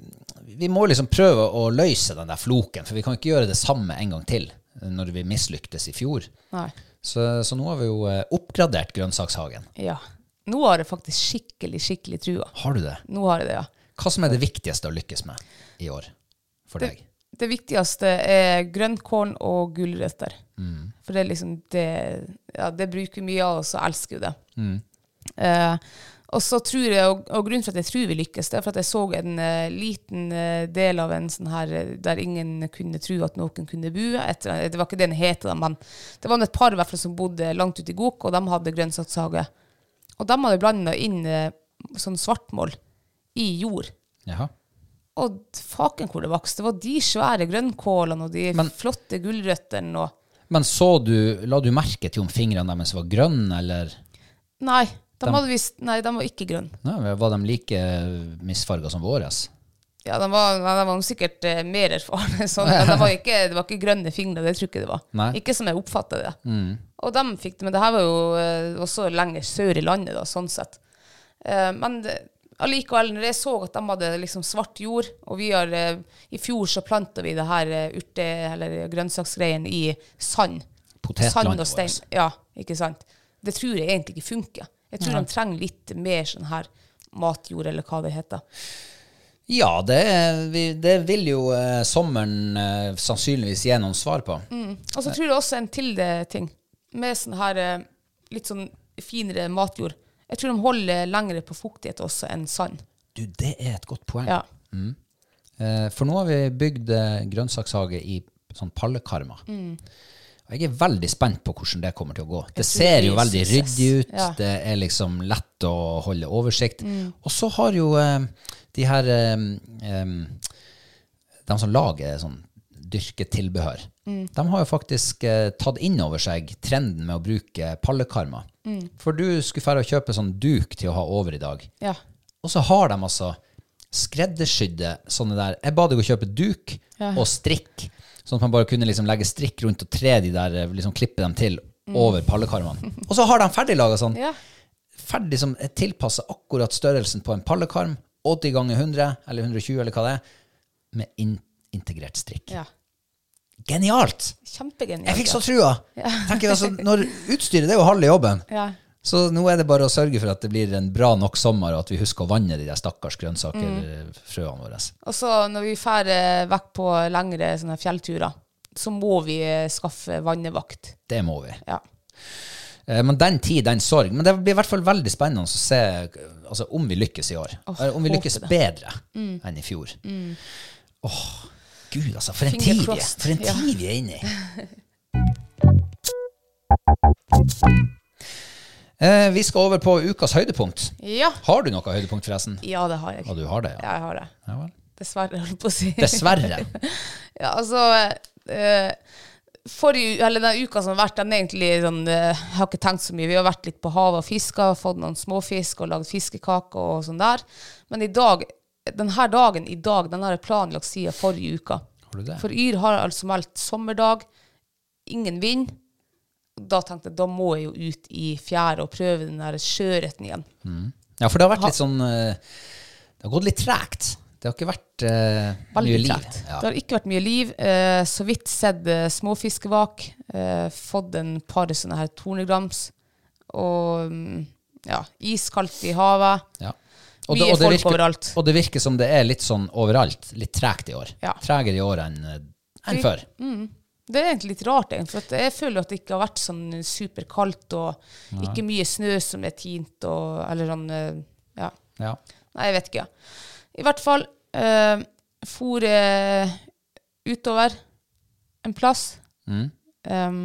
[SPEAKER 1] vi må liksom prøve å løse den der floken, for vi kan ikke gjøre det samme en gang til eh, når vi mislyktes i fjor.
[SPEAKER 2] Nei.
[SPEAKER 1] Så, så nå har vi jo eh, oppgradert grønnsakshagen.
[SPEAKER 2] Ja. Nå har jeg faktisk skikkelig, skikkelig trua.
[SPEAKER 1] Har du det?
[SPEAKER 2] Nå har jeg det, ja.
[SPEAKER 1] Hva som er det viktigste å lykkes med i år for deg?
[SPEAKER 2] Det viktigste er grønnkål og gulrøtter. For det er liksom det Ja, det bruker mye av, og så elsker vi det.
[SPEAKER 1] Mm,
[SPEAKER 2] Eh, og så tror jeg, og, og grunnen for at jeg tror vi lykkes, det er for at jeg så en eh, liten eh, del av en sånn her eh, der ingen kunne tro at noen kunne bo. Et, eh, det var ikke det den het, da, men det var et par i hvert fall som bodde langt ute i Gok, og de hadde grønnsakshage. Og de hadde blanda inn eh, sånn svartmål i jord.
[SPEAKER 1] Jaha.
[SPEAKER 2] Og faken hvor det vokste. Det var de svære grønnkålene og de
[SPEAKER 1] Men-
[SPEAKER 2] flotte gulrøttene og
[SPEAKER 1] Men så du, la du merke til om fingrene deres var grønne, eller
[SPEAKER 2] Nei, de,
[SPEAKER 1] Dem-
[SPEAKER 2] hadde visst, nei, de var ikke grønne.
[SPEAKER 1] Nei, var de like misfarga som våres?
[SPEAKER 2] Ja, de var, nei, de var sikkert eh, mer erfarne, sånn, men det var, ikke, det var ikke grønne fingre. Det tror jeg ikke det var.
[SPEAKER 1] Nei. Mm.
[SPEAKER 2] Ikke som jeg oppfatta det. Og de fikk det, men det her var jo eh, også lenger sør i landet, da, sånn sett. Eh, men det- allikevel, når jeg så at de hadde liksom svart jord, og vi har eh, I fjor så planta vi det her eh, urte- eller grønnsaksgreien i sand.
[SPEAKER 1] Potetlandet
[SPEAKER 2] Sand og stein.
[SPEAKER 1] vårt.
[SPEAKER 2] Ja, ikke sant. Det tror jeg egentlig ikke funker. Jeg tror de trenger litt mer sånn her matjord, eller hva det heter.
[SPEAKER 1] Ja, det, er- vi, det vil jo eh, sommeren eh, sannsynligvis gi noen svar på.
[SPEAKER 2] Og så tror jeg også en til eh, ting, med sånn her eh, litt sånn finere matjord. Jeg tror de holder lengre på fuktighet også enn sand.
[SPEAKER 1] Du, det er et godt poeng.
[SPEAKER 2] Ja.
[SPEAKER 1] Eh, For nå har vi bygd eh, grønnsakshage i sånn pallekarmer. Og jeg er veldig spent på hvordan det kommer til å gå. Det
[SPEAKER 2] Mm. tror
[SPEAKER 1] ser
[SPEAKER 2] det
[SPEAKER 1] jo
[SPEAKER 2] blir
[SPEAKER 1] veldig
[SPEAKER 2] suksess.
[SPEAKER 1] ryddig ut,
[SPEAKER 2] Ja. Mm.
[SPEAKER 1] det er liksom lett å holde oversikt. Og så har jo eh, de her eh, eh, De som lager sånn dyrketilbehør,
[SPEAKER 2] Mm.
[SPEAKER 1] de har jo faktisk eh, tatt inn over seg trenden med å bruke pallekarmer.
[SPEAKER 2] Mm.
[SPEAKER 1] For du skulle fære og kjøpe sånn duk til å ha over i dag.
[SPEAKER 2] ja.
[SPEAKER 1] Og så har de altså skreddersydde sånne der Jeg ba deg å kjøpe duk og strikk, sånn at man bare kunne liksom legge strikk rundt og tre de der, eh, liksom klippe dem til over pallekarmene. Og så har de ferdiglaga sånn.
[SPEAKER 2] Mm. Ja.
[SPEAKER 1] Ferdig som er tilpassa akkurat størrelsen på en pallekarm, 80 ganger 100, eller 120, eller hva det er, med in integrert strikk.
[SPEAKER 2] ja.
[SPEAKER 1] Genialt!
[SPEAKER 2] Kjempegenialt.
[SPEAKER 1] Jeg fikk
[SPEAKER 2] ja.
[SPEAKER 1] så trua! Tenker jeg, altså, når Utstyret det er jo halve jobben.
[SPEAKER 2] ja.
[SPEAKER 1] Så nå er det bare å sørge for at det blir en bra nok sommer, og at vi husker å vanne de der stakkars grønnsakerfrøene våre.
[SPEAKER 2] Og så når vi drar eh, vekk på lengre sånne fjellturer, så må vi eh, skaffe vannevakt.
[SPEAKER 1] Det må vi.
[SPEAKER 2] Ja.
[SPEAKER 1] Eh, Men den tid, den sorg. Men det blir i hvert fall veldig spennende å se eh, altså, om vi lykkes i år.
[SPEAKER 2] Åh,
[SPEAKER 1] Eller om vi
[SPEAKER 2] håper
[SPEAKER 1] lykkes
[SPEAKER 2] det. Mm.
[SPEAKER 1] bedre enn i fjor. Åh, gud altså. For en
[SPEAKER 2] Finger
[SPEAKER 1] tid vi er
[SPEAKER 2] crossed,
[SPEAKER 1] For en
[SPEAKER 2] ja.
[SPEAKER 1] tid vi er inne i. Eh, Vi skal over på ukas høydepunkt.
[SPEAKER 2] Ja.
[SPEAKER 1] Har du noe høydepunkt, forresten?
[SPEAKER 2] ja, det har jeg.
[SPEAKER 1] Ja, du har det, ja.
[SPEAKER 2] Ja, jeg har det.
[SPEAKER 1] ja vel.
[SPEAKER 2] Dessverre, holdt jeg på å si.
[SPEAKER 1] Dessverre.
[SPEAKER 2] Ja, altså eh, Forrige, u- eller den uka som har vært, den er egentlig sånn eh, Jeg har ikke tenkt så mye. Vi har vært litt på havet og fiska, fått noen småfisk og lagd fiskekaker og sånn der. Men i dag, denne dagen i dag, den har jeg planlagt siden forrige uka.
[SPEAKER 1] Har du det?
[SPEAKER 2] For Yr har altså meldt sommerdag, ingen vind, Da tenkte jeg da må jeg jo ut i fjæra og prøve den der sjøørreten igjen.
[SPEAKER 1] Ja, for det har vært litt sånn eh, Det har gått litt tregt. Det har ikke vært eh, mye
[SPEAKER 2] Veldig
[SPEAKER 1] liv.
[SPEAKER 2] tregt.
[SPEAKER 1] Ja.
[SPEAKER 2] Det har ikke vært mye liv. Eh, så vidt sett eh, småfiskevak. Eh, fått en par sånne her tornegrams. Og mm, ja, iskaldt i havet.
[SPEAKER 1] Ja.
[SPEAKER 2] Mye folk overalt.
[SPEAKER 1] Og det virker som det er litt sånn overalt. Litt tregt i år.
[SPEAKER 2] Ja.
[SPEAKER 1] Tregere i år enn eh, enn
[SPEAKER 2] Vi-
[SPEAKER 1] før.
[SPEAKER 2] Det er egentlig litt rart, egentlig, for at jeg føler at det ikke har vært sånn superkaldt og ikke mye snø som er tint og Eller sånn eh, Ja.
[SPEAKER 1] Ja.
[SPEAKER 2] Nei, jeg vet ikke. Ja. I hvert fall eh, for eh, utover en plass.
[SPEAKER 1] Mm.
[SPEAKER 2] Em,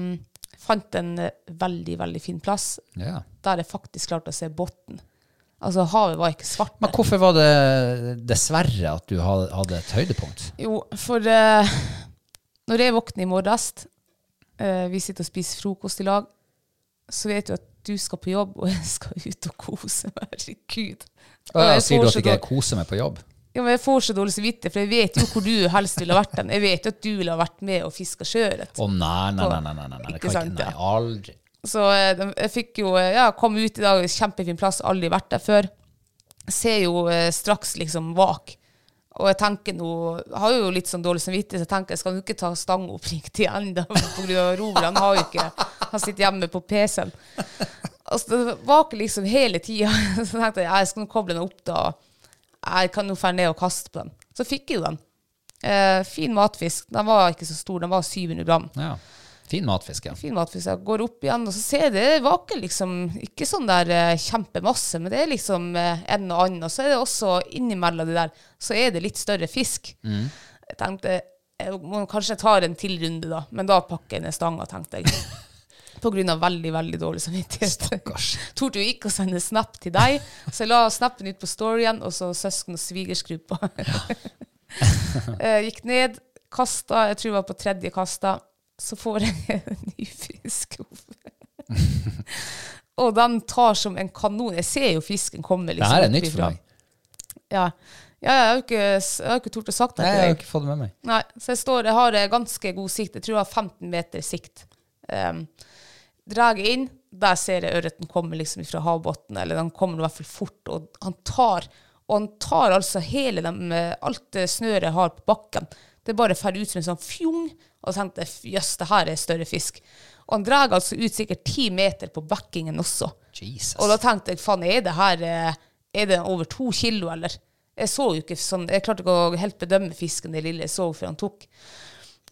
[SPEAKER 2] fant en eh, veldig, veldig fin plass
[SPEAKER 1] ja.
[SPEAKER 2] der jeg faktisk klarte å se bunnen. Altså, havet var ikke svart.
[SPEAKER 1] Men hvorfor var det dessverre at du ha- hadde et høydepunkt?
[SPEAKER 2] Jo, for eh, når jeg våkner i morges, eh, vi sitter og spiser frokost i lag, så vet du at du skal på jobb, og jeg skal ut og kose meg. Herregud. Og
[SPEAKER 1] Ja,
[SPEAKER 2] jeg
[SPEAKER 1] sier du
[SPEAKER 2] får
[SPEAKER 1] at
[SPEAKER 2] så
[SPEAKER 1] du ikke
[SPEAKER 2] dårlig-
[SPEAKER 1] koser meg på jobb?
[SPEAKER 2] ja, men Jeg får så dårlig samvittighet, for jeg vet jo hvor du helst ville ha vært. Den. Jeg vet jo at du ville ha vært med og fiska sjøørret.
[SPEAKER 1] Å nei, nei, nei, nei, nei, nei, nei. det
[SPEAKER 2] Ikke
[SPEAKER 1] kan
[SPEAKER 2] sant,
[SPEAKER 1] ikke, nei,
[SPEAKER 2] ja.
[SPEAKER 1] aldri.
[SPEAKER 2] Så eh, de- jeg fikk jo eh, Ja, kom ut i dag, kjempefin plass, aldri vært der før. Ser jo eh, straks liksom vak. Og jeg tenker nå Jeg har jo litt sånn dårlig samvittighet, så jeg tenker jeg skal jo ikke ta stang opp riktig ennå, pga. Roland han har jo ikke Han sitter hjemme på PC-en. Altså, det vaker liksom hele tida. Så tenkte jeg ja, jeg skal nå koble den opp, da. Jeg kan nå dra ned og kaste på den. Så fikk jeg jo den. Eh, fin matfisk. Den var ikke så stor, den var 700 gram
[SPEAKER 1] Ja. Fin matfisk, ja.
[SPEAKER 2] fin matfisk. Jeg går opp igjen, og så ser jeg det vaker liksom ikke sånn der eh, kjempemasse, men det er liksom eh, en og annen. Og så er det også innimellom det der, så er det litt større fisk. Jeg tenkte jeg må kanskje jeg tar en til runde, da. Men da pakker jeg ned stanga, tenkte jeg. På grunn av veldig, veldig dårlig samvittighet.
[SPEAKER 1] Stakkars.
[SPEAKER 2] Torde jo ikke å sende snap til deg, så jeg la snappen ut på storyen, og så søsken- og svigersgruppa. Eh, Gikk ned, kasta, jeg tror det var på tredje kasta, så får jeg en ny frisk opp. og den tar som en kanon. Jeg ser jo fisken komme. Liksom,
[SPEAKER 1] Det her er
[SPEAKER 2] opp
[SPEAKER 1] nytt for
[SPEAKER 2] ifra.
[SPEAKER 1] meg.
[SPEAKER 2] Ja. ja, jeg har jo ikke, jeg har ikke tort å sagt det.
[SPEAKER 1] Nei,
[SPEAKER 2] til
[SPEAKER 1] jeg har
[SPEAKER 2] deg.
[SPEAKER 1] jo ikke fått det med meg.
[SPEAKER 2] Nei, så jeg står, jeg har eh, ganske god sikt. Jeg tror jeg har 15 meter sikt. Um, Drar jeg inn, der ser jeg ørreten kommer liksom fra havbunnen, eller den kommer i hvert fall fort, og han tar, og han tar altså hele dem, eh, alt det snøret jeg har på bakken. Det bare fer ut som en sånn fjong, og så tenkte jeg, "F- jøss, det her er større fisk. Og han drar altså ut sikkert 10 meter på backingen også.
[SPEAKER 1] Jesus.
[SPEAKER 2] Og da tenkte jeg, faen, er det her eh, Er det over to kilo, eller? Jeg så jo ikke sånn Jeg klarte ikke å helt bedømme fisken det lille jeg så før han tok.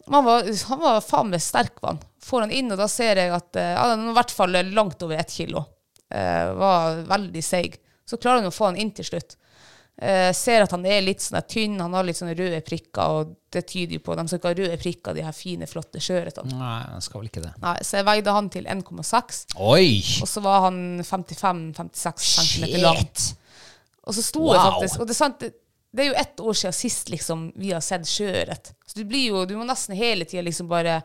[SPEAKER 2] Men han var, han var faen meg sterk, var han. Får han inn, og da ser jeg at eh, ja, den var i hvert fall langt over ett kilo. Eh, var veldig seig. Så klarer han å få han inn til slutt. Eh, ser at han er litt sånn der tynn, han har litt sånne røde prikker, og det tyder jo på De skal ikke ha røde prikker, de her fine, flotte sjøørretene.
[SPEAKER 1] Nei, jeg skal vel ikke det.
[SPEAKER 2] Nei, Så jeg veide han til 1,6.
[SPEAKER 1] Oi!
[SPEAKER 2] Og så var han 55-56 cm lang. Og så sto jeg
[SPEAKER 1] Wow.
[SPEAKER 2] faktisk Og det er sant, det, det er jo ett år siden sist liksom, vi har sett sjøørret. Så du blir jo Du må nesten hele tida liksom bare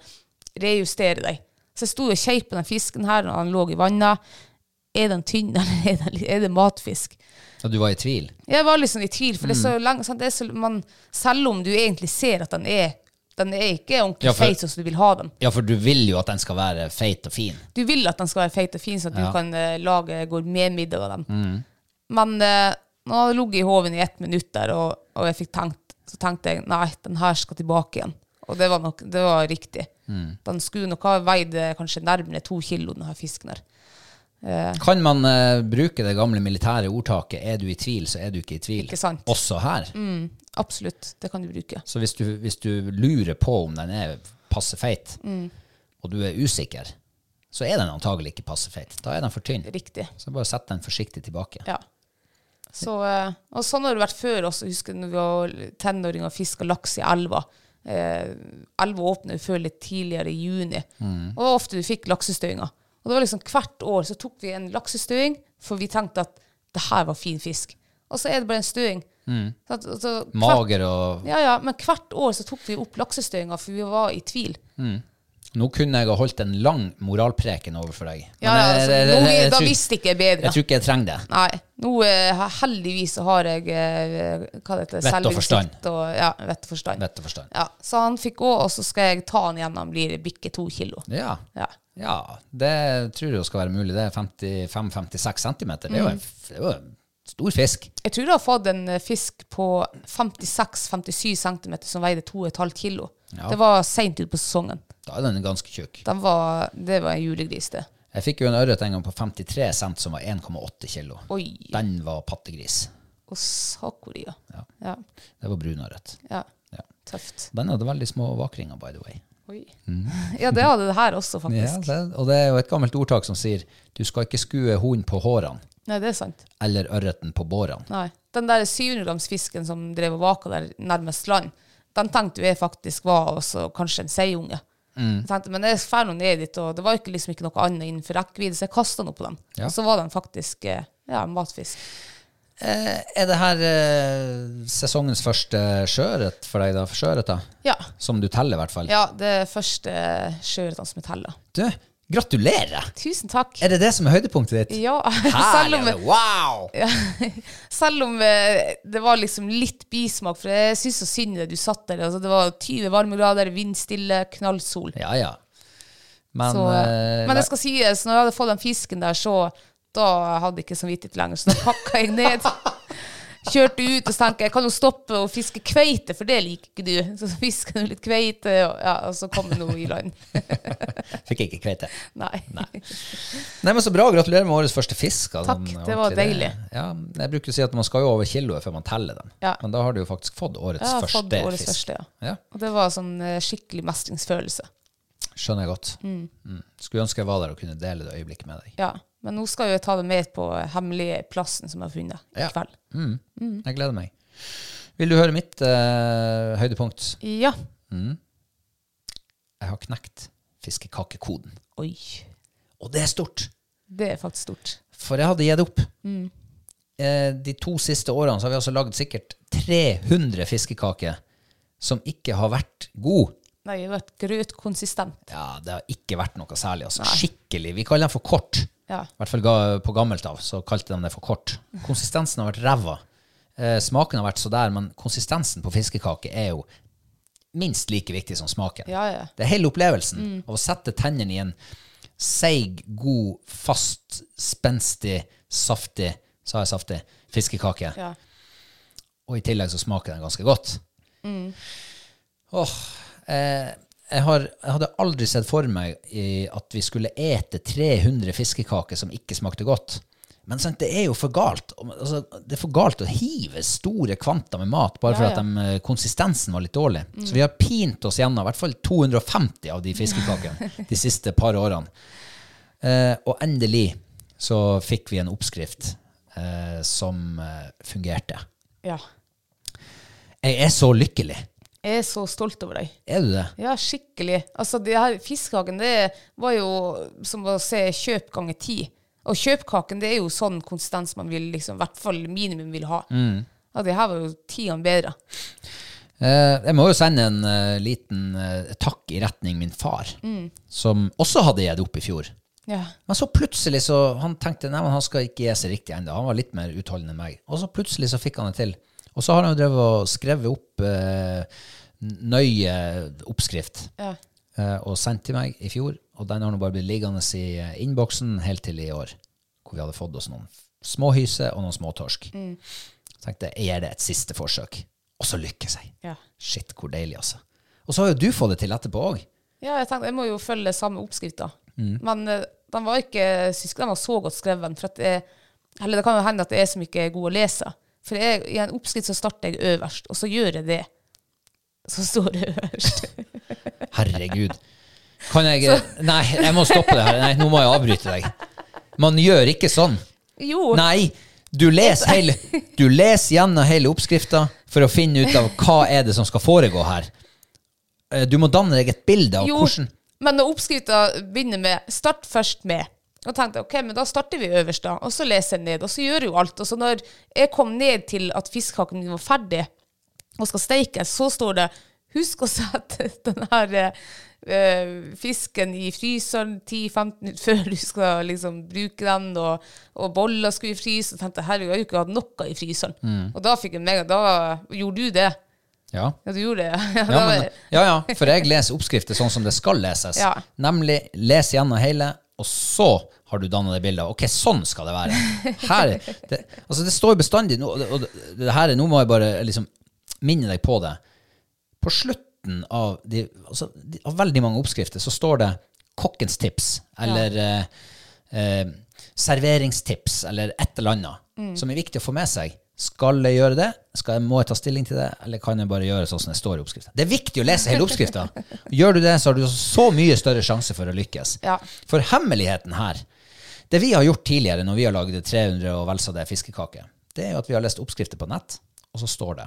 [SPEAKER 2] rejustere deg. Så jeg sto og kjei på den fisken her når han lå i vannet. Er den tynn, eller er, den, er det matfisk?
[SPEAKER 1] Og du var i tvil?
[SPEAKER 2] Jeg var liksom i tvil, for det er så
[SPEAKER 1] Mm.
[SPEAKER 2] lenge, sant? Det er så, man, selv om du egentlig ser at den er Den er ikke ordentlig
[SPEAKER 1] Ja, for-
[SPEAKER 2] feit sånn som du vil ha den.
[SPEAKER 1] Ja, for du vil jo at den skal være feit og fin.
[SPEAKER 2] Du vil at den skal være feit og fin, så at
[SPEAKER 1] Ja.
[SPEAKER 2] du kan eh, lage gourmetmiddag av den. Men eh, nå hadde jeg ligget i hoven i ett minutt der, og, og jeg fikk tenkt, så tenkte jeg nei, den her skal tilbake igjen. Og det var, nok, det var riktig. Den skulle nok ha veid eh, kanskje nærmere to kilo, denne fisken her.
[SPEAKER 1] Kan man eh, bruke det gamle militære ordtaket 'er du i tvil, så er du ikke i tvil'?
[SPEAKER 2] Ikke sant. Mm.
[SPEAKER 1] Også her.
[SPEAKER 2] Absolutt, det kan du bruke.
[SPEAKER 1] Så hvis du, hvis du lurer på om den er passe feit,
[SPEAKER 2] Mm.
[SPEAKER 1] og du er usikker, så er den antagelig ikke passe feit. Da er den for tynn.
[SPEAKER 2] Riktig.
[SPEAKER 1] Så bare sett den forsiktig tilbake.
[SPEAKER 2] Ja. Så, eh, og sånn har det vært før også. Jeg husker når vi var tenåringer og fiska laks i elva. Eh, elva åpner jo før litt tidligere i juni.
[SPEAKER 1] Mm.
[SPEAKER 2] Og det var ofte vi fikk laksestøinger. Og det var liksom hvert år så tok vi en laksestøing, for vi tenkte at det her var fin fisk. Og så er det bare en støing.
[SPEAKER 1] Mm.
[SPEAKER 2] Så at- så hvert-
[SPEAKER 1] Mager og
[SPEAKER 2] Ja, ja, men hvert år så tok vi opp laksestøinger, for vi var i tvil.
[SPEAKER 1] Nå kunne jeg ha holdt en lang moralpreken overfor deg. Men
[SPEAKER 2] Ja, ja,
[SPEAKER 1] jeg-
[SPEAKER 2] altså,
[SPEAKER 1] jeg- jeg-
[SPEAKER 2] nå,
[SPEAKER 1] jeg
[SPEAKER 2] da
[SPEAKER 1] tror-
[SPEAKER 2] visste ikke jeg bedre.
[SPEAKER 1] Jeg tror ikke jeg trenger det.
[SPEAKER 2] Nei. Nå eh, har- heldigvis så har jeg eh, hva det heter,
[SPEAKER 1] Vett og forstand.
[SPEAKER 2] selvinnsikt og ja, vett og forstand.
[SPEAKER 1] Vett og forstand.
[SPEAKER 2] Ja, så han fikk gå, og så skal jeg ta han igjen når han blir bikke to kilo.
[SPEAKER 1] Ja.
[SPEAKER 2] Ja.
[SPEAKER 1] ja. Det tror jeg skal være mulig. Det er 55-56 centimeter. Det er jo en, f- det er jo en stor fisk.
[SPEAKER 2] Jeg tror jeg har fått en eh, fisk på 56-57 cm som veide 2,5 kilo.
[SPEAKER 1] Ja.
[SPEAKER 2] Det var seint ut på sesongen.
[SPEAKER 1] Da er den ganske tjukk.
[SPEAKER 2] Den var, det var en julegris, det.
[SPEAKER 1] Jeg fikk jo en ørret en gang på 53 cent som var 1,8 kilo.
[SPEAKER 2] Oi.
[SPEAKER 1] Den var pattegris.
[SPEAKER 2] Og sakori, ja.
[SPEAKER 1] Ja.
[SPEAKER 2] Ja.
[SPEAKER 1] Det var brunørret.
[SPEAKER 2] ja.
[SPEAKER 1] Ja.
[SPEAKER 2] Tøft.
[SPEAKER 1] Den hadde veldig små vakringer, by the way.
[SPEAKER 2] Oi.
[SPEAKER 1] Mm.
[SPEAKER 2] Ja, det hadde det her også,
[SPEAKER 1] Ja,
[SPEAKER 2] faktisk.
[SPEAKER 1] det, og det er jo et gammelt ordtak som sier du skal ikke skue hunden på hårene
[SPEAKER 2] Nei, det er sant.
[SPEAKER 1] eller ørreten på bårene.
[SPEAKER 2] Nei. Den der 700 grams fisken som drev og vaka der nærmest land, den tenkte jo jeg faktisk var også kanskje en seiunge.
[SPEAKER 1] Mm.
[SPEAKER 2] Jeg Tenkte, men jeg drar nå ned dit, og det var ikke, liksom ikke noe annet innenfor rekkevidde, så jeg kasta noe på den.
[SPEAKER 1] Ja.
[SPEAKER 2] Og så var den faktisk eh, ja, matfisk.
[SPEAKER 1] Er det her eh, sesongens første sjøørret for deg, da? For sjøørret, da?
[SPEAKER 2] Ja.
[SPEAKER 1] Som du teller, i hvert fall.
[SPEAKER 2] ja det er første sjøørreten som er tella.
[SPEAKER 1] Du, gratulerer!
[SPEAKER 2] Tusen takk.
[SPEAKER 1] Er det det som er høydepunktet ditt?
[SPEAKER 2] Ja, selv om,
[SPEAKER 1] Herlig! Wow!
[SPEAKER 2] selv om eh, det var liksom litt bismak, for jeg syns så synd i det du satt der. Altså, det var 20 varmegrader, vindstille, knallsol.
[SPEAKER 1] Ja, ja. Men,
[SPEAKER 2] så,
[SPEAKER 1] eh,
[SPEAKER 2] men det skal sies, når jeg hadde fått den fisken der, så da hadde jeg ikke samvittighet lenger. Så da pakka jeg ned. Kjørte ut og så tenkte jeg, jeg kan jo stoppe å fiske kveite, for det liker ikke du. Så fisker du litt kveite, og, ja, og så kom det noe i land.
[SPEAKER 1] Fikk ikke kveite.
[SPEAKER 2] Nei.
[SPEAKER 1] Nei, men Så bra. Gratulerer med årets første fisk. altså.
[SPEAKER 2] Takk, det var
[SPEAKER 1] Ordentlig,
[SPEAKER 2] deilig.
[SPEAKER 1] Ja, jeg bruker å si at man skal jo over kiloet før man teller den.
[SPEAKER 2] Ja.
[SPEAKER 1] Men da har du jo faktisk fått årets
[SPEAKER 2] Jeg har
[SPEAKER 1] første
[SPEAKER 2] fått årets
[SPEAKER 1] fisk.
[SPEAKER 2] første, ja.
[SPEAKER 1] Ja,
[SPEAKER 2] Og det var sånn eh, skikkelig mestringsfølelse.
[SPEAKER 1] Skjønner jeg godt. Mm. Skulle ønske jeg var der og kunne dele det øyeblikket med deg.
[SPEAKER 2] Ja. Men nå skal jo jeg ta det med på hemmelige plassen som jeg har funnet i
[SPEAKER 1] Ja.
[SPEAKER 2] kveld.
[SPEAKER 1] Mm. Jeg gleder meg. Vil du høre mitt eh, høydepunkt?
[SPEAKER 2] Ja.
[SPEAKER 1] Jeg har knekt fiskekakekoden.
[SPEAKER 2] Oi.
[SPEAKER 1] Og det er stort!
[SPEAKER 2] Det er faktisk stort.
[SPEAKER 1] For jeg hadde gitt opp. Eh, de to siste årene så har vi altså lagd sikkert 300 fiskekaker som ikke har vært god.
[SPEAKER 2] Nei, jeg har vært grøtkonsistent.
[SPEAKER 1] Ja, det har ikke vært noe særlig. Altså. Skikkelig. Vi kaller den for kort.
[SPEAKER 2] Ja.
[SPEAKER 1] I hvert fall ga- på gammelt av så kalte de det for kort. Konsistensen har vært ræva. Eh, smaken har vært så der, men konsistensen på fiskekake er jo minst like viktig som smaken.
[SPEAKER 2] Ja, ja. Mm.
[SPEAKER 1] Det er hele opplevelsen. Av å sette tennene i en seig, god, fast, spenstig, saftig, sa jeg saftig, fiskekake.
[SPEAKER 2] Ja.
[SPEAKER 1] Og i tillegg så smaker den ganske godt.
[SPEAKER 2] Mm.
[SPEAKER 1] Åh, eh, jeg, har, jeg hadde aldri sett for meg i at vi skulle ete 300 fiskekaker som ikke smakte godt. Men sant, det er jo for galt. Om- Altså, det er for galt å hive store kvanta med mat bare
[SPEAKER 2] Ja,
[SPEAKER 1] for
[SPEAKER 2] ja. Mm.
[SPEAKER 1] at de, eh, konsistensen var litt dårlig. Så vi har pint oss gjennom i hvert fall 250 av de fiskekakene de siste par årene. Eh, og endelig så fikk vi en oppskrift eh, som eh, fungerte.
[SPEAKER 2] ja.
[SPEAKER 1] Jeg er så lykkelig.
[SPEAKER 2] Jeg er så stolt over deg.
[SPEAKER 1] Er du det?
[SPEAKER 2] Ja, skikkelig. Altså, det her fiskekaken, det var jo som å se kjøp ganger ti. Og kjøpkaken, det er jo sånn konsistens man vil liksom, i hvert fall minimum vil ha. Ja, det her var jo ti ganger bedre.
[SPEAKER 1] Eh, jeg må jo sende en eh, liten eh, takk i retning min far, som også hadde gitt opp i fjor.
[SPEAKER 2] Ja.
[SPEAKER 1] Men så plutselig så han tenkte nei, men han skal ikke gi seg riktig ennå. Han var litt mer utholdende enn meg. Og så plutselig så fikk han det til. Og så har han jo drevet og skrevet opp eh, nøye oppskrift
[SPEAKER 2] Ja.
[SPEAKER 1] eh, og sendt til meg i fjor. Og den har nå bare blitt liggende i eh, innboksen helt til i år, hvor vi hadde fått oss noen småhyse og noen småtorsk. Så tenkte jeg jeg gir det et siste forsøk, og så lykkes jeg.
[SPEAKER 2] Ja.
[SPEAKER 1] Shit, hvor deilig, altså. Og så har jo du fått det til etterpå òg.
[SPEAKER 2] ja, jeg tenkte jeg må jo følge samme oppskrift, da. Men eh, den var ikke Jeg syns ikke den var så godt skreven. For at jeg, eller det kan jo hende at det er jeg som ikke er god å lese. For jeg, i en oppskrift så starter jeg øverst, og så gjør jeg det. Så står det øverst.
[SPEAKER 1] Herregud. Kan jeg eh, Nei, jeg må stoppe det her. Nei, nå må jeg avbryte deg. Man gjør ikke sånn.
[SPEAKER 2] Jo.
[SPEAKER 1] Nei, du leser hele, du leser gjennom hele oppskrifta for å finne ut av hva er det som skal foregå her. Eh, Du må danne deg et bilde av
[SPEAKER 2] Jo,
[SPEAKER 1] hvordan
[SPEAKER 2] men når oppskrifta begynner med 'start først med', og tenkte jeg, ok, men da starter vi øverst, da. Og så leser jeg ned, og så gjør jeg jo alt. Og så når jeg kom ned til at fiskekaken min var ferdig og skal steikes, så står det Husk å sette den her eh, eh, fisken i fryseren 10-15 før du skal liksom bruke den, og, og boller skulle i frysen. Jeg tenkte herregud, jeg har jo ikke hatt noe i fryseren.
[SPEAKER 1] Mm.
[SPEAKER 2] Og da fikk jeg meg, da gjorde du det.
[SPEAKER 1] Ja.
[SPEAKER 2] Ja, du gjorde det. Ja,
[SPEAKER 1] Ja,
[SPEAKER 2] da-
[SPEAKER 1] men, ja, ja, for jeg leser oppskrifter sånn som det skal leses.
[SPEAKER 2] Ja.
[SPEAKER 1] Nemlig les gjennom hele, og så har du danna det bildet. av, Ok, sånn skal det være. Her, det, altså det står bestandig nå- og, det- og det- det her, er- Nå må jeg bare liksom minne deg på det. På slutten av, de, altså, de, av veldig mange oppskrifter så står det 'kokkens tips' eller eh, eh, 'serveringstips' eller et eller annet som er viktig å få med seg. Skal jeg gjøre det? Skal jeg, må jeg ta stilling til det, eller kan jeg bare gjøre sånn som det står i oppskrifta? Det er viktig å lese hele oppskrifta. Gjør du det, så har du så mye større sjanse for å lykkes.
[SPEAKER 2] Ja.
[SPEAKER 1] For hemmeligheten her Det vi har gjort tidligere når vi har lagd 300 og vel så det fiskekake, det er jo at vi har lest oppskrifter på nett, og så står det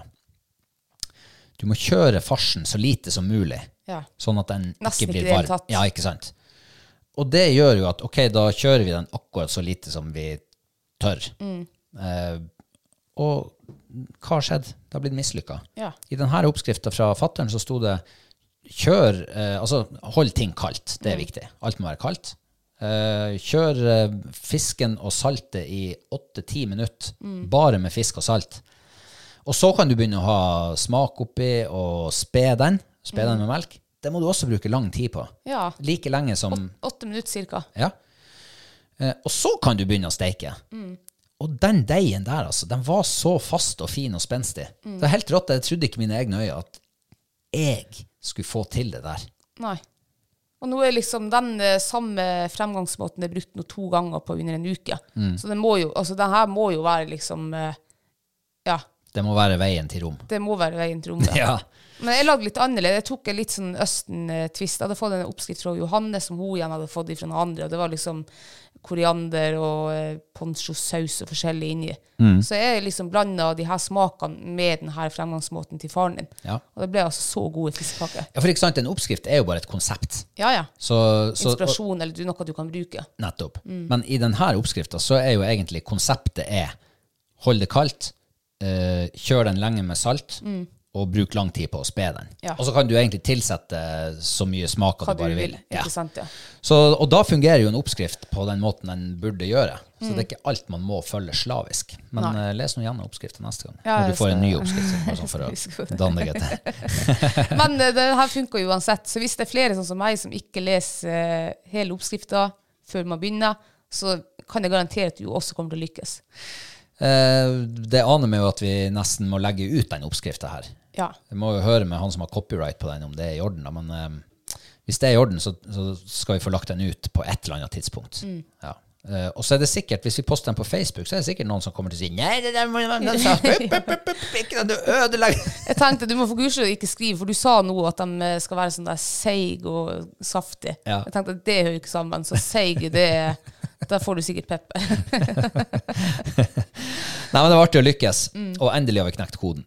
[SPEAKER 1] Du må kjøre farsen så lite som mulig,
[SPEAKER 2] Ja.
[SPEAKER 1] sånn at den
[SPEAKER 2] Nesten
[SPEAKER 1] ikke blir
[SPEAKER 2] ikke i det hele
[SPEAKER 1] varm.
[SPEAKER 2] tatt.
[SPEAKER 1] Ja, ikke sant? Og det gjør jo at ok, da kjører vi den akkurat så lite som vi tør.
[SPEAKER 2] Mm.
[SPEAKER 1] Eh, og hva har skjedd? Det har blitt mislykka.
[SPEAKER 2] Ja.
[SPEAKER 1] I denne oppskrifta fra fattern så sto det kjør eh, Altså hold ting kaldt, det er
[SPEAKER 2] Mm.
[SPEAKER 1] viktig. Alt må være kaldt. Eh, kjør eh, fisken og saltet i åtte-ti minutter,
[SPEAKER 2] Mm.
[SPEAKER 1] bare med fisk og salt. Og så kan du begynne å ha smak oppi og spe den. Spe den med melk. Det må du også bruke lang tid på.
[SPEAKER 2] Mm. Ja.
[SPEAKER 1] Like lenge som
[SPEAKER 2] Åtte minutter cirka.
[SPEAKER 1] ja. Eh, og så kan du begynne å steike.
[SPEAKER 2] Mm.
[SPEAKER 1] Og den deigen der, altså, den var så fast og fin og spenstig.
[SPEAKER 2] Mm.
[SPEAKER 1] Det er helt rått. Jeg trodde ikke mine egne øyne at jeg skulle få til det der.
[SPEAKER 2] Nei. Og nå er liksom den eh, samme fremgangsmåten det er brukt nå to ganger på under en uke.
[SPEAKER 1] Mm.
[SPEAKER 2] Så det må jo, altså det her må jo være liksom eh, Ja,
[SPEAKER 1] Det må være veien til rom.
[SPEAKER 2] det må være veien til rommet.
[SPEAKER 1] Ja.
[SPEAKER 2] Men jeg lagde litt annerledes. Jeg tok en litt sånn Østen-twist. Jeg hadde fått en oppskrift fra Johanne som hun igjen hadde fått fra noen andre. Og det var liksom koriander og eh, poncho-saus og forskjellig inni.
[SPEAKER 1] Mm.
[SPEAKER 2] Så jeg liksom blanda de her smakene med den her fremgangsmåten til faren din.
[SPEAKER 1] Ja.
[SPEAKER 2] Og det ble altså så gode fiskekaker.
[SPEAKER 1] ja, for ikke sant, en oppskrift er jo bare et konsept.
[SPEAKER 2] Ja, ja.
[SPEAKER 1] Så, så, og,
[SPEAKER 2] Inspirasjon eller du, noe du kan bruke.
[SPEAKER 1] Nettopp.
[SPEAKER 2] Mm.
[SPEAKER 1] Men i denne oppskrifta så er jo egentlig konseptet er hold det kaldt, eh, kjør den lenge med salt, og bruk lang tid på å spe den.
[SPEAKER 2] Mm. Ja.
[SPEAKER 1] Og så kan du egentlig tilsette så mye smak
[SPEAKER 2] Hva
[SPEAKER 1] du
[SPEAKER 2] du
[SPEAKER 1] bare
[SPEAKER 2] vil.
[SPEAKER 1] vil. Ja.
[SPEAKER 2] Ikke sant? Ja.
[SPEAKER 1] Så, og da fungerer jo en oppskrift på den måten den burde gjøre. Så
[SPEAKER 2] Mm.
[SPEAKER 1] det er ikke alt man må følge slavisk. Men eh, les nå gjennom oppskrifta neste gang,
[SPEAKER 2] Ja,
[SPEAKER 1] når
[SPEAKER 2] jeg
[SPEAKER 1] du får en
[SPEAKER 2] skal-
[SPEAKER 1] ny oppskrift. Sånn, bare sånn
[SPEAKER 2] Jeg skal
[SPEAKER 1] for
[SPEAKER 2] huske
[SPEAKER 1] å danne deg etter.
[SPEAKER 2] Men eh, det her funker jo uansett. Så hvis det er flere sånn som meg som ikke leser eh, hele oppskrifta før man begynner, så kan jeg garantere at du også kommer til å lykkes.
[SPEAKER 1] Eh, det aner meg jo at vi nesten må legge ut den oppskrifta her.
[SPEAKER 2] Ja.
[SPEAKER 1] Jeg må jo høre med han som har copyright på den, om det er i orden. Da. Men eh, hvis det er i orden, så, så skal vi få lagt den ut på et eller annet tidspunkt. Ja. Eh, og så er det sikkert, hvis vi poster den på Facebook, så er det sikkert noen som kommer til å si Nei, det der må må- må- så- pup, pup, pup, pup, Ikke den du ødelegger!
[SPEAKER 2] Jeg tenkte du må få kurset og ikke skrive, for du sa nå at de eh, skal være sånn der seig og saftig.
[SPEAKER 1] Ja.
[SPEAKER 2] Jeg tenkte at det hører ikke sammen, så seig, det er- Der får du sikkert pepper.
[SPEAKER 1] Nei, men det var artig å lykkes. Og endelig har vi knekt koden.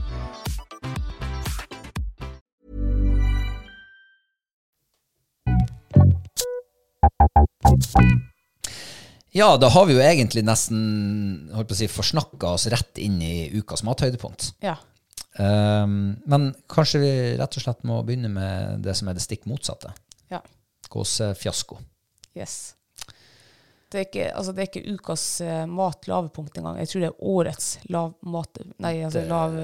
[SPEAKER 1] Ja, da har vi jo egentlig nesten holdt på å si, forsnakka oss rett inn i ukas mathøydepunkt.
[SPEAKER 2] Ja.
[SPEAKER 1] Ehm, men kanskje vi rett og slett må begynne med det som er det stikk motsatte.
[SPEAKER 2] ja.
[SPEAKER 1] Gåsefiasko.
[SPEAKER 2] Yes. Det er ikke, altså det er ikke ukas eh, matlavepunkt engang. Jeg tror det er årets lav mat, nei, altså lav,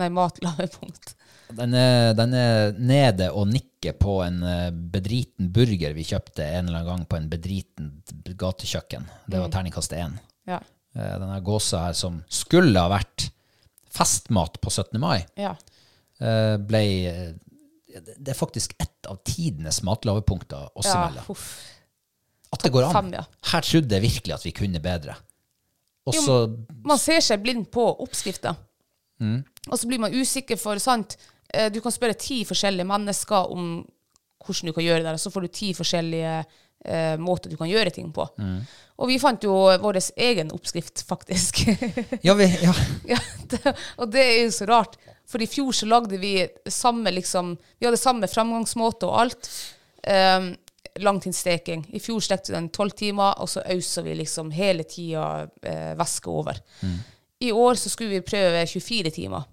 [SPEAKER 2] nei, matlavepunkt.
[SPEAKER 1] Den er, den er nede og nikker på en eh, bedriten burger vi kjøpte en eller annen gang på en bedriten gatekjøkken. Det
[SPEAKER 2] Mm.
[SPEAKER 1] var terningkast én.
[SPEAKER 2] Ja.
[SPEAKER 1] Eh, Denne gåsa her som skulle ha vært festmat på 17. mai,
[SPEAKER 2] ja.
[SPEAKER 1] eh, ble eh, Det det er faktisk ett av tidenes matlavepunkter oss
[SPEAKER 2] ja
[SPEAKER 1] imellom.
[SPEAKER 2] huff.
[SPEAKER 1] At det går an.
[SPEAKER 2] fem, ja.
[SPEAKER 1] Her trodde jeg virkelig at vi kunne bedre. Og
[SPEAKER 2] Jo,
[SPEAKER 1] så
[SPEAKER 2] Man ser seg blind på oppskrifter. Og så blir man usikker for sant? eh, Du kan spørre ti forskjellige mennesker om hvordan du kan gjøre det, og så får du ti forskjellige eh, måter du kan gjøre ting på. Og vi fant jo vår egen oppskrift, faktisk.
[SPEAKER 1] Ja, vi ja.
[SPEAKER 2] ja, det, og det er jo så rart, for i fjor så lagde vi samme liksom Vi hadde samme framgangsmåte og alt. Um, langtidssteking. I fjor stekte vi den tolv timer, og så ausa vi liksom hele tida eh, væske over. I år så skulle vi prøve 24 timer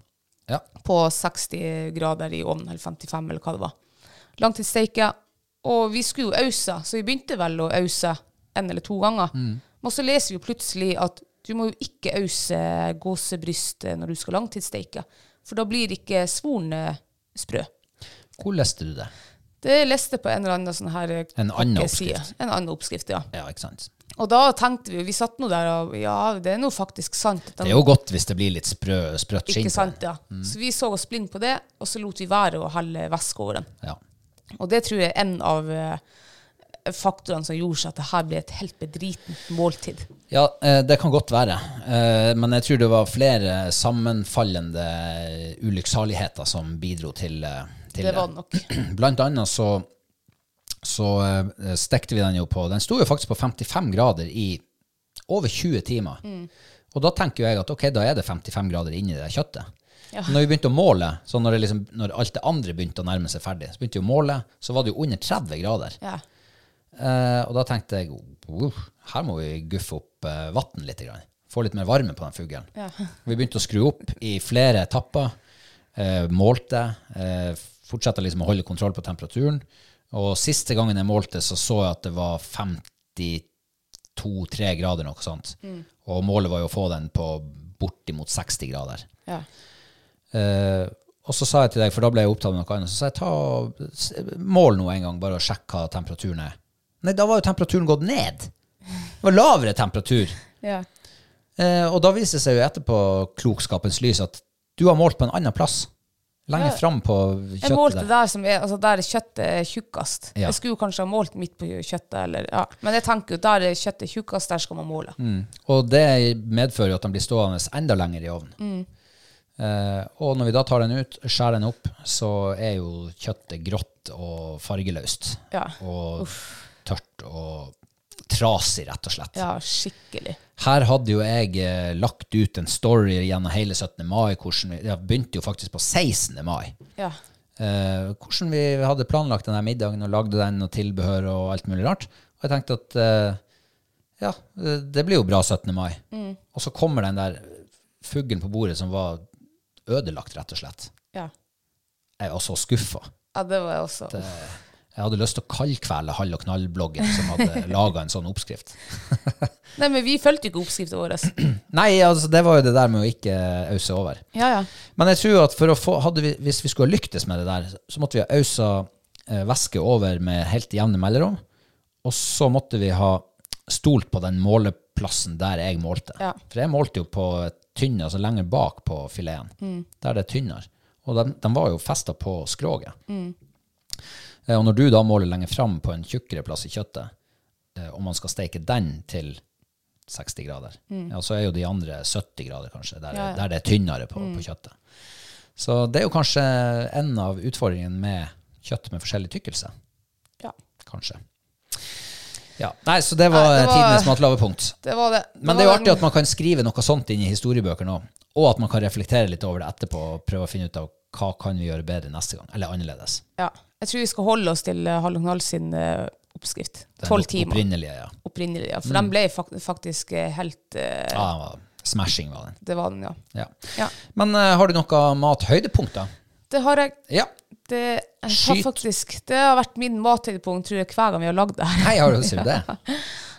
[SPEAKER 1] ja.
[SPEAKER 2] på 60 grader i ovnen, eller 55, eller hva det var. Langtidssteike. Og vi skulle jo ause, så vi begynte vel å ause en eller to ganger.
[SPEAKER 1] Mm.
[SPEAKER 2] Men så leser vi jo plutselig at du må jo ikke ause gåsebryst eh, når du skal langtidssteike, for da blir ikke svoren eh, sprø.
[SPEAKER 1] Hvor leste du det?
[SPEAKER 2] Det leste jeg på en eller annen sånn her eh,
[SPEAKER 1] En annen
[SPEAKER 2] pakkeside.
[SPEAKER 1] oppskrift.
[SPEAKER 2] En annen oppskrift, ja.
[SPEAKER 1] Ja, ikke sant.
[SPEAKER 2] Og da tenkte vi jo, vi satt nå der og ja, det er nå faktisk sant.
[SPEAKER 1] Det er jo Mm. godt hvis det blir litt sprø, sprøtt skinn.
[SPEAKER 2] Ikke
[SPEAKER 1] på
[SPEAKER 2] sant, ja. Så vi så oss blind på det, og så lot vi være å helle væske over den.
[SPEAKER 1] den. Ja.
[SPEAKER 2] Og det tror jeg er en av eh, faktorene som gjorde seg at det her ble et helt bedritent måltid.
[SPEAKER 1] Ja, eh, det kan godt være. Eh, Men jeg tror det var flere sammenfallende ulykksaligheter som bidro til, eh, til
[SPEAKER 2] Det var det nok.
[SPEAKER 1] Blant annet så, så eh, stekte vi den jo på Den sto jo faktisk på 55 grader i over 20 timer.
[SPEAKER 2] Mm.
[SPEAKER 1] Og da tenker jo jeg at ok, da er det 55 grader inni det kjøttet. Men Når vi begynte å måle, så når, det liksom, når alt det andre begynte å nærme seg ferdig, så begynte vi å måle, så var det jo under 30 grader.
[SPEAKER 2] Ja.
[SPEAKER 1] Eh, og da tenkte jeg «Wow, her må vi guffe opp eh, vann litt. Grann. Få litt mer varme på den fuglen. Vi begynte å skru opp i flere etapper. Eh, målte. Eh, fortsatte liksom å holde kontroll på temperaturen. Og siste gangen jeg målte, så så jeg at det var 52-3 grader, noe sånt. Og målet var jo å få den på bortimot 60 grader.
[SPEAKER 2] Ja.
[SPEAKER 1] Eh, og så sa jeg til deg, for da ble jeg opptatt med noe annet, så sa jeg ta og s- mål nå en gang, bare og sjekk hva temperaturen er. Nei, da var jo temperaturen gått ned. Det var lavere temperatur.
[SPEAKER 2] Ja.
[SPEAKER 1] Eh, og da viser det seg jo etterpå klokskapens lys at du har målt på en annen plass. Lenger
[SPEAKER 2] Ja.
[SPEAKER 1] fram på
[SPEAKER 2] Jeg
[SPEAKER 1] kjøttet
[SPEAKER 2] målte
[SPEAKER 1] der.
[SPEAKER 2] der, som er, altså der kjøttet er tjukkest.
[SPEAKER 1] Ja.
[SPEAKER 2] Jeg skulle jo kanskje ha målt midt på kjøttet, eller, ja. men jeg tenker jo der er kjøttet er tjukkest, der skal man måle.
[SPEAKER 1] Mm. Og det medfører jo at den blir stående enda lenger i ovnen.
[SPEAKER 2] Mm.
[SPEAKER 1] Eh, og når vi da tar den ut, skjærer den opp, så er jo kjøttet grått og fargeløst.
[SPEAKER 2] Ja.
[SPEAKER 1] Og tørt og trasig, rett og slett.
[SPEAKER 2] Ja, skikkelig.
[SPEAKER 1] Her hadde jo jeg eh, lagt ut en story gjennom hele 17. mai. Hvordan vi, jeg begynte jo faktisk på 16. mai.
[SPEAKER 2] Ja.
[SPEAKER 1] Eh, hvordan vi hadde planlagt denne middagen og lagde den og tilbehør og alt mulig rart. Og jeg tenkte at eh, ja, det blir jo bra 17. mai. Og så kommer den der fuglen på bordet som var ødelagt, rett og slett.
[SPEAKER 2] Ja.
[SPEAKER 1] Jeg var så skuffa.
[SPEAKER 2] ja, det var jeg også.
[SPEAKER 1] Jeg hadde lyst til å kaldkvele Hall og Knall-bloggen som hadde laga en sånn oppskrift.
[SPEAKER 2] Nei, men vi fulgte jo ikke oppskriften vår.
[SPEAKER 1] Nei, altså, det var jo det der med å ikke ause over.
[SPEAKER 2] Ja, ja.
[SPEAKER 1] Men jeg tror at for å få, hadde vi, hvis vi skulle ha lyktes med det der, så måtte vi ha ausa eh, væske over med helt jevne mellomrom. Og så måtte vi ha stolt på den måleplassen der jeg målte.
[SPEAKER 2] Ja.
[SPEAKER 1] For jeg målte jo på tynne, altså lenger bak på fileten, der det er tynnere. Og den, den var jo festa på skroget. Eh, Og når du da måler lenger fram på en tjukkere plass i kjøttet, eh, og man skal steke den til 60 grader, ja, så er jo de andre 70 grader kanskje, der,
[SPEAKER 2] Mm. Ja, Mm. ja.
[SPEAKER 1] der det er tynnere på, på kjøttet. Så det er jo kanskje en av utfordringene med kjøtt med forskjellig tykkelse.
[SPEAKER 2] ja.
[SPEAKER 1] Kanskje. Ja. Nei, så det var,
[SPEAKER 2] Nei, det var-
[SPEAKER 1] tidenes matlavepunkt.
[SPEAKER 2] Det var det.
[SPEAKER 1] Men det er jo
[SPEAKER 2] var
[SPEAKER 1] artig
[SPEAKER 2] den-
[SPEAKER 1] at man kan skrive noe sånt inn i historiebøker nå, og at man kan reflektere litt over det etterpå og prøve å finne ut av hva kan vi gjøre bedre neste gang, eller annerledes.
[SPEAKER 2] Ja. Jeg tror vi skal holde oss til eh, Hall og Knall sin eh, oppskrift.
[SPEAKER 1] Den
[SPEAKER 2] Tolv timer.
[SPEAKER 1] Opprinnelige, ja.
[SPEAKER 2] opprinnelig, ja. For den ble fak faktisk eh, helt eh,
[SPEAKER 1] Mm. ja den var, smashing var den.
[SPEAKER 2] Det var den, ja.
[SPEAKER 1] Ja.
[SPEAKER 2] ja.
[SPEAKER 1] Men eh, har du noe mathøydepunkt, da?
[SPEAKER 2] Det har jeg.
[SPEAKER 1] Ja.
[SPEAKER 2] Det, jeg har
[SPEAKER 1] Skyt.
[SPEAKER 2] faktisk, det har vært min mathøydepunkt tror jeg, hver gang vi har lagd det her.
[SPEAKER 1] Hei, har du sier du det?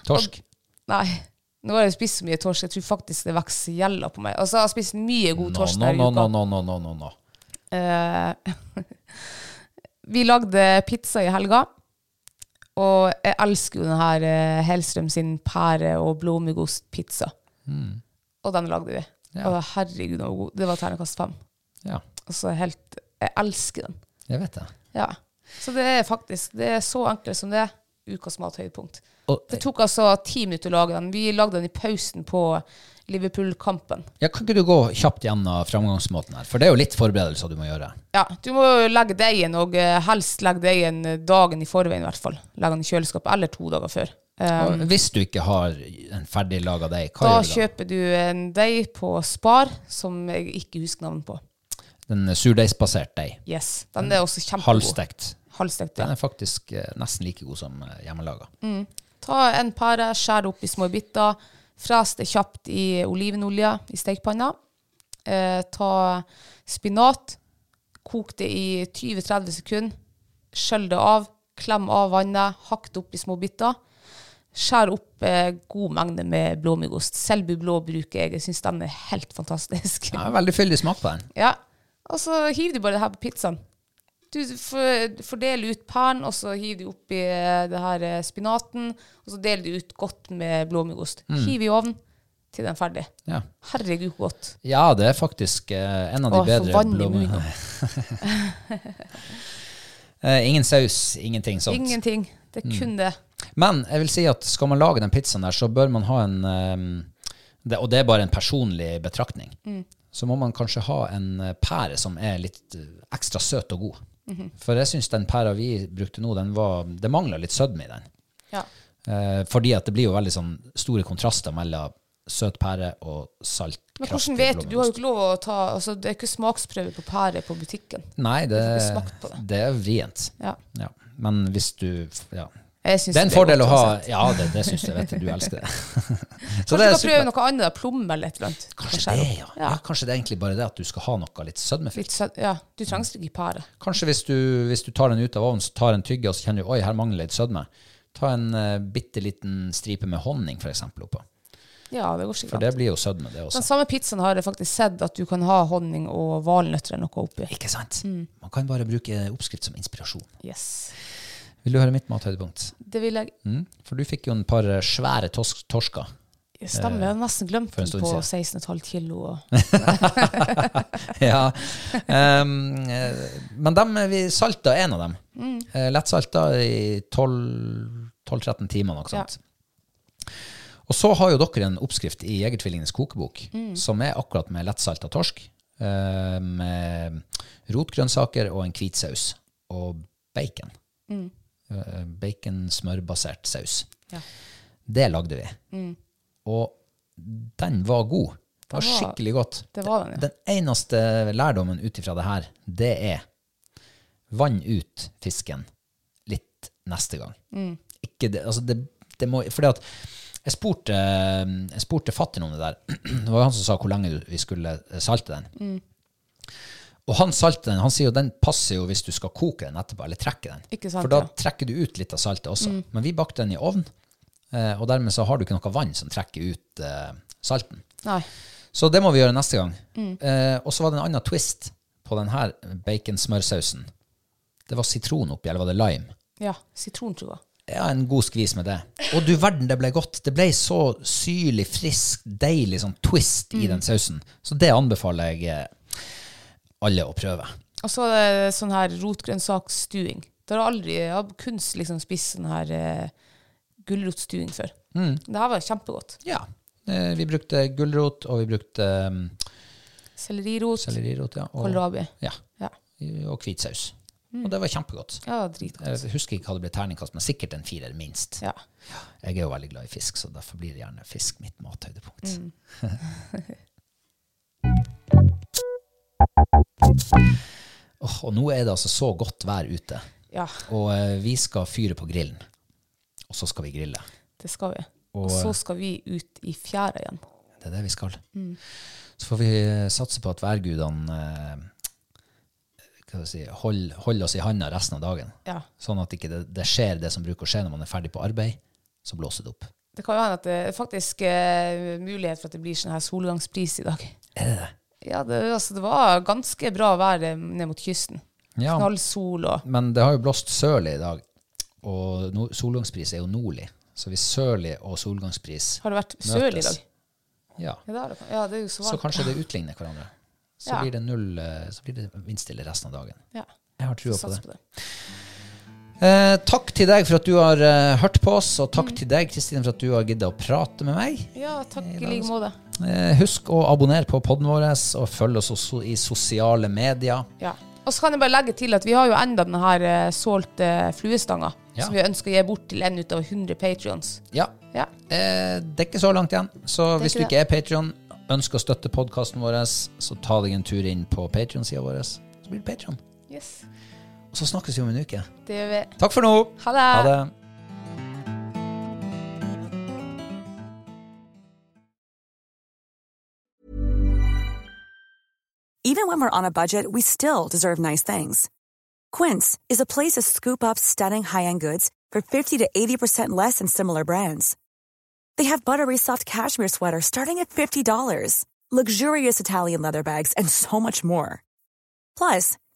[SPEAKER 1] Torsk.
[SPEAKER 2] Nei. Nå har jeg spist så mye torsk, jeg tror faktisk det vokser gjelda på meg. Altså, jeg har spist mye god
[SPEAKER 1] No,
[SPEAKER 2] torsk
[SPEAKER 1] no,
[SPEAKER 2] denne
[SPEAKER 1] no,
[SPEAKER 2] uka.
[SPEAKER 1] no, no, no, no, no, no.
[SPEAKER 2] Eh, vi lagde pizza i helga, og jeg elsker jo den her eh, Hellstrøm sin pære- og blåmuggostpizza. Og den lagde vi.
[SPEAKER 1] Mm. Ja.
[SPEAKER 2] Og herregud, den var god. Det var ternekast fem.
[SPEAKER 1] Ja,
[SPEAKER 2] Altså, helt, jeg elsker den.
[SPEAKER 1] jeg vet det.
[SPEAKER 2] Ja. Så det er faktisk det er så enkelt som det er. Ukas mathøydepunkt.
[SPEAKER 1] Og,
[SPEAKER 2] Det tok altså ti minutter å lage den. Vi lagde den i pausen på Liverpool-kampen.
[SPEAKER 1] ja, kan ikke du gå kjapt gjennom framgangsmåten her? For det er jo litt forberedelser du må gjøre.
[SPEAKER 2] Ja, du må jo legge deigen, og eh, helst legge deigen eh, dagen i forveien i hvert fall. Legge den i kjøleskapet, eller to dager før. Eh,
[SPEAKER 1] Og hvis du ikke har en ferdig laga deig, hva
[SPEAKER 2] da
[SPEAKER 1] gjør du da?
[SPEAKER 2] kjøper du en deig på Spar, som jeg ikke husker navnet på.
[SPEAKER 1] Den surdeigsbasert deig.
[SPEAKER 2] Yes, Den er også kjempegod.
[SPEAKER 1] Mm. Halvstekt.
[SPEAKER 2] Halvstekt,
[SPEAKER 1] Den
[SPEAKER 2] ja. Mm.
[SPEAKER 1] er faktisk eh, nesten like god som eh, hjemmelaga.
[SPEAKER 2] Ta en pære, skjær opp i små biter, fres det kjapt i olivenolje i stekepanna. Eh, ta spinat, kok det i 20-30 sekunder, skjøll det av, klem av vannet, hakk det opp i små biter. Skjær opp eh, god mengde med blåmuggost. Selbu blå bruker jeg, jeg syns den er helt fantastisk.
[SPEAKER 1] Ja, veldig fyldig smak på den.
[SPEAKER 2] Ja. Og så hiver du bare det her på pizzaen. Du for- fordeler ut pæren, og så hiver du oppi eh, det her eh, spinaten, og så deler du ut godt med blåmuggost.
[SPEAKER 1] Mm.
[SPEAKER 2] Hiv i ovnen til den er ferdig.
[SPEAKER 1] Ja,
[SPEAKER 2] Herregud, hvor godt.
[SPEAKER 1] ja det er faktisk eh, en av de
[SPEAKER 2] Åh, jeg får
[SPEAKER 1] bedre
[SPEAKER 2] vann i
[SPEAKER 1] blåmuggene.
[SPEAKER 2] munnen.
[SPEAKER 1] Eh, ingen saus, ingenting sånt.
[SPEAKER 2] Ingenting. Det
[SPEAKER 1] Mm.
[SPEAKER 2] er kun det.
[SPEAKER 1] Men jeg vil si at skal man lage den pizzaen der, så bør man ha en eh, det, Og det er bare en personlig betraktning.
[SPEAKER 2] Mm.
[SPEAKER 1] Så må man kanskje ha en eh, pære som er litt eh, ekstra søt og god.
[SPEAKER 2] Mhm.
[SPEAKER 1] For jeg syns den pæra vi brukte nå, den var, det mangla litt sødme i den.
[SPEAKER 2] Ja.
[SPEAKER 1] Eh, fordi at det blir jo veldig sånn store kontraster mellom søt pære og salt.
[SPEAKER 2] Men hvordan
[SPEAKER 1] kraftig
[SPEAKER 2] vet du? Du har jo
[SPEAKER 1] blåmuggost.
[SPEAKER 2] ikke lov å ta altså, Det er ikke smaksprøve på pære på butikken.
[SPEAKER 1] Nei, det,
[SPEAKER 2] du får ikke smakt på det.
[SPEAKER 1] det er vrient.
[SPEAKER 2] Ja.
[SPEAKER 1] Ja. Men hvis du ja.
[SPEAKER 2] Jeg synes
[SPEAKER 1] Det er en
[SPEAKER 2] det er
[SPEAKER 1] fordel å
[SPEAKER 2] godt
[SPEAKER 1] ha
[SPEAKER 2] uansett.
[SPEAKER 1] Ja, det, det syns jeg. Vet du, du elsker det. Så
[SPEAKER 2] Kanskje du kan prøve
[SPEAKER 1] supert.
[SPEAKER 2] noe annet, da, plomme eller et eller annet.
[SPEAKER 1] Kanskje det, ja. ja. Kanskje det er egentlig bare det at du skal ha noe litt sødmefritt.
[SPEAKER 2] Litt søtt. Ja, du trenger ikke pære.
[SPEAKER 1] Kanskje hvis du, hvis du tar den ut av ovnen, så tar en tygge, og så kjenner du oi, her mangler litt sødme. Ta en uh, bitte liten stripe med honning, for eksempel, oppå.
[SPEAKER 2] Ja, det går
[SPEAKER 1] For
[SPEAKER 2] sikkert.
[SPEAKER 1] det blir jo sødme, det også.
[SPEAKER 2] Den samme pizzaen har jeg faktisk sett at du kan ha honning og valnøtter eller noe oppi.
[SPEAKER 1] Ikke sant?
[SPEAKER 2] Mm.
[SPEAKER 1] Man kan bare bruke oppskrift som inspirasjon.
[SPEAKER 2] Yes.
[SPEAKER 1] Vil du høre mitt mathøydepunkt?
[SPEAKER 2] Det vil jeg
[SPEAKER 1] Mm. For du fikk jo en par eh, svære tos torsker.
[SPEAKER 2] jeg Stemmer, jeg har nesten glemt
[SPEAKER 1] for en
[SPEAKER 2] den
[SPEAKER 1] stund
[SPEAKER 2] på
[SPEAKER 1] siden.
[SPEAKER 2] 16,5 kilo. og-
[SPEAKER 1] ja. Ehm, eh, men dem, vi salta en av dem. Eh, Lettsalta i 12 12-13 timer, noe sånt. Og så har jo dere en oppskrift i Jegertvillingenes kokebok som er akkurat med lettsalta torsk, eh, med rotgrønnsaker og en hvit saus. Og bacon. Eh, Bacon-smørbasert saus.
[SPEAKER 2] Ja.
[SPEAKER 1] Det lagde vi.
[SPEAKER 2] Mm.
[SPEAKER 1] Og den var god. Det var
[SPEAKER 2] Den var-
[SPEAKER 1] skikkelig godt.
[SPEAKER 2] Det var den, ja.
[SPEAKER 1] Den eneste lærdommen ut ifra det her, det er vann ut fisken litt neste gang.
[SPEAKER 2] Mm.
[SPEAKER 1] Ikke det, altså det, det må, fordi at jeg spurte, jeg spurte fatteren om det der. Det var han som sa hvor lenge du- vi skulle salte den. Og han salter den, han sier jo den passer jo hvis du skal koke den etterpå, eller trekke den.
[SPEAKER 2] Ikke sant,
[SPEAKER 1] For da
[SPEAKER 2] ja. Mm.
[SPEAKER 1] trekker du ut litt av saltet også. Men vi bakte den i ovn, eh, og dermed så har du ikke noe vann som trekker ut eh, salten.
[SPEAKER 2] Nei.
[SPEAKER 1] Så det må vi gjøre neste gang.
[SPEAKER 2] Mm.
[SPEAKER 1] Eh, og så var det en annen twist på denne baconsmørsausen. Det var sitron oppi, eller var det lime?
[SPEAKER 2] Ja, sitron, tror jeg.
[SPEAKER 1] Ja, en god skvis med det. Og du verden, det ble godt. Det ble så syrlig, frisk, deilig sånn twist
[SPEAKER 2] Mm.
[SPEAKER 1] i den sausen. Så det anbefaler jeg eh, alle å prøve.
[SPEAKER 2] Og så er det sånn her rotgrønnsaksstuing. Det har jeg aldri, jeg har kun liksom spist sånn her eh, gulrotstuing før.
[SPEAKER 1] Mm.
[SPEAKER 2] Det her var kjempegodt.
[SPEAKER 1] Ja. Eh, vi brukte gulrot, og vi brukte um,
[SPEAKER 2] Sellerirot,
[SPEAKER 1] sellerirot, ja. Og,
[SPEAKER 2] kålrabi.
[SPEAKER 1] ja,
[SPEAKER 2] Ja. Mm.
[SPEAKER 1] og hvit saus. Og det var kjempegodt.
[SPEAKER 2] ja, dritgodt.
[SPEAKER 1] Jeg husker ikke hva det ble terningkast, men sikkert en firer, minst.
[SPEAKER 2] Ja.
[SPEAKER 1] Jeg er jo veldig glad i fisk, så derfor blir det gjerne fisk mitt mathøydepunkt.
[SPEAKER 2] Mm.
[SPEAKER 1] Åh, og nå er det altså så godt vær ute,
[SPEAKER 2] ja,
[SPEAKER 1] og eh, vi skal fyre på grillen. Og så skal vi grille.
[SPEAKER 2] det skal vi.
[SPEAKER 1] Og-
[SPEAKER 2] Og så skal vi ut i fjæra igjen.
[SPEAKER 1] Det er det vi skal. Så får vi eh, satse på at værgudene eh, hva skal jeg si, hold, holder oss i handa resten av dagen.
[SPEAKER 2] Ja.
[SPEAKER 1] Sånn at ikke det, det skjer det som bruker å skje når man er ferdig på arbeid, så blåser det opp.
[SPEAKER 2] Det kan jo hende at det er faktisk eh, mulighet for at det blir sånn her solgangspris i dag. Ja, det, altså, det var ganske bra vær eh, ned mot kysten.
[SPEAKER 1] Ja,
[SPEAKER 2] Knallsol og
[SPEAKER 1] men det har jo blåst sørlig i dag, og no, solgangspris er jo nordlig. Så hvis sørlig og solgangspris
[SPEAKER 2] Har det vært sørlig i dag?
[SPEAKER 1] ja,
[SPEAKER 2] Ja, det, har det, ja, det er jo så
[SPEAKER 1] så
[SPEAKER 2] varmt.
[SPEAKER 1] kanskje det utligner hverandre. Så
[SPEAKER 2] Ja.
[SPEAKER 1] blir det null, eh, så blir det vindstille resten av dagen.
[SPEAKER 2] Ja,
[SPEAKER 1] Jeg har trua på
[SPEAKER 2] sats
[SPEAKER 1] det.
[SPEAKER 2] på det.
[SPEAKER 1] Eh, takk til deg for at du har eh, hørt på oss, og takk til deg, Kristin, for at du har giddet å prate med meg.
[SPEAKER 2] Ja, takk i like måte.
[SPEAKER 1] Eh, husk å abonnere på podden vår, og følg oss også i sosiale medier.
[SPEAKER 2] Ja. Og så kan jeg bare legge til at vi har jo enda denne her eh, solgte fluestanga,
[SPEAKER 1] Ja.
[SPEAKER 2] som vi ønsker å gi bort til en ut av 100 patrions.
[SPEAKER 1] Ja,
[SPEAKER 2] Ja.
[SPEAKER 1] Eh, det er ikke så langt igjen. Så
[SPEAKER 2] er
[SPEAKER 1] hvis du ikke
[SPEAKER 2] ikke
[SPEAKER 1] er Patreon ønsker å støtte podkasten vår, så ta deg en tur inn på Patrion-sida vår. Så blir det Patreon.
[SPEAKER 2] Yes.
[SPEAKER 1] Og så snakkes vi om en uke.
[SPEAKER 2] Det gjør vi.
[SPEAKER 1] Takk for nå.
[SPEAKER 2] Ha det.
[SPEAKER 1] Ha det.
[SPEAKER 3] Even when we're on a budget, we still deserve nice things. Quince is a place to scoop up stunning high-end goods for 50 to 80% less than similar brands. They have buttery soft cashmere sweaters starting at $50, luxurious Italian leather bags, and so much more. Plus,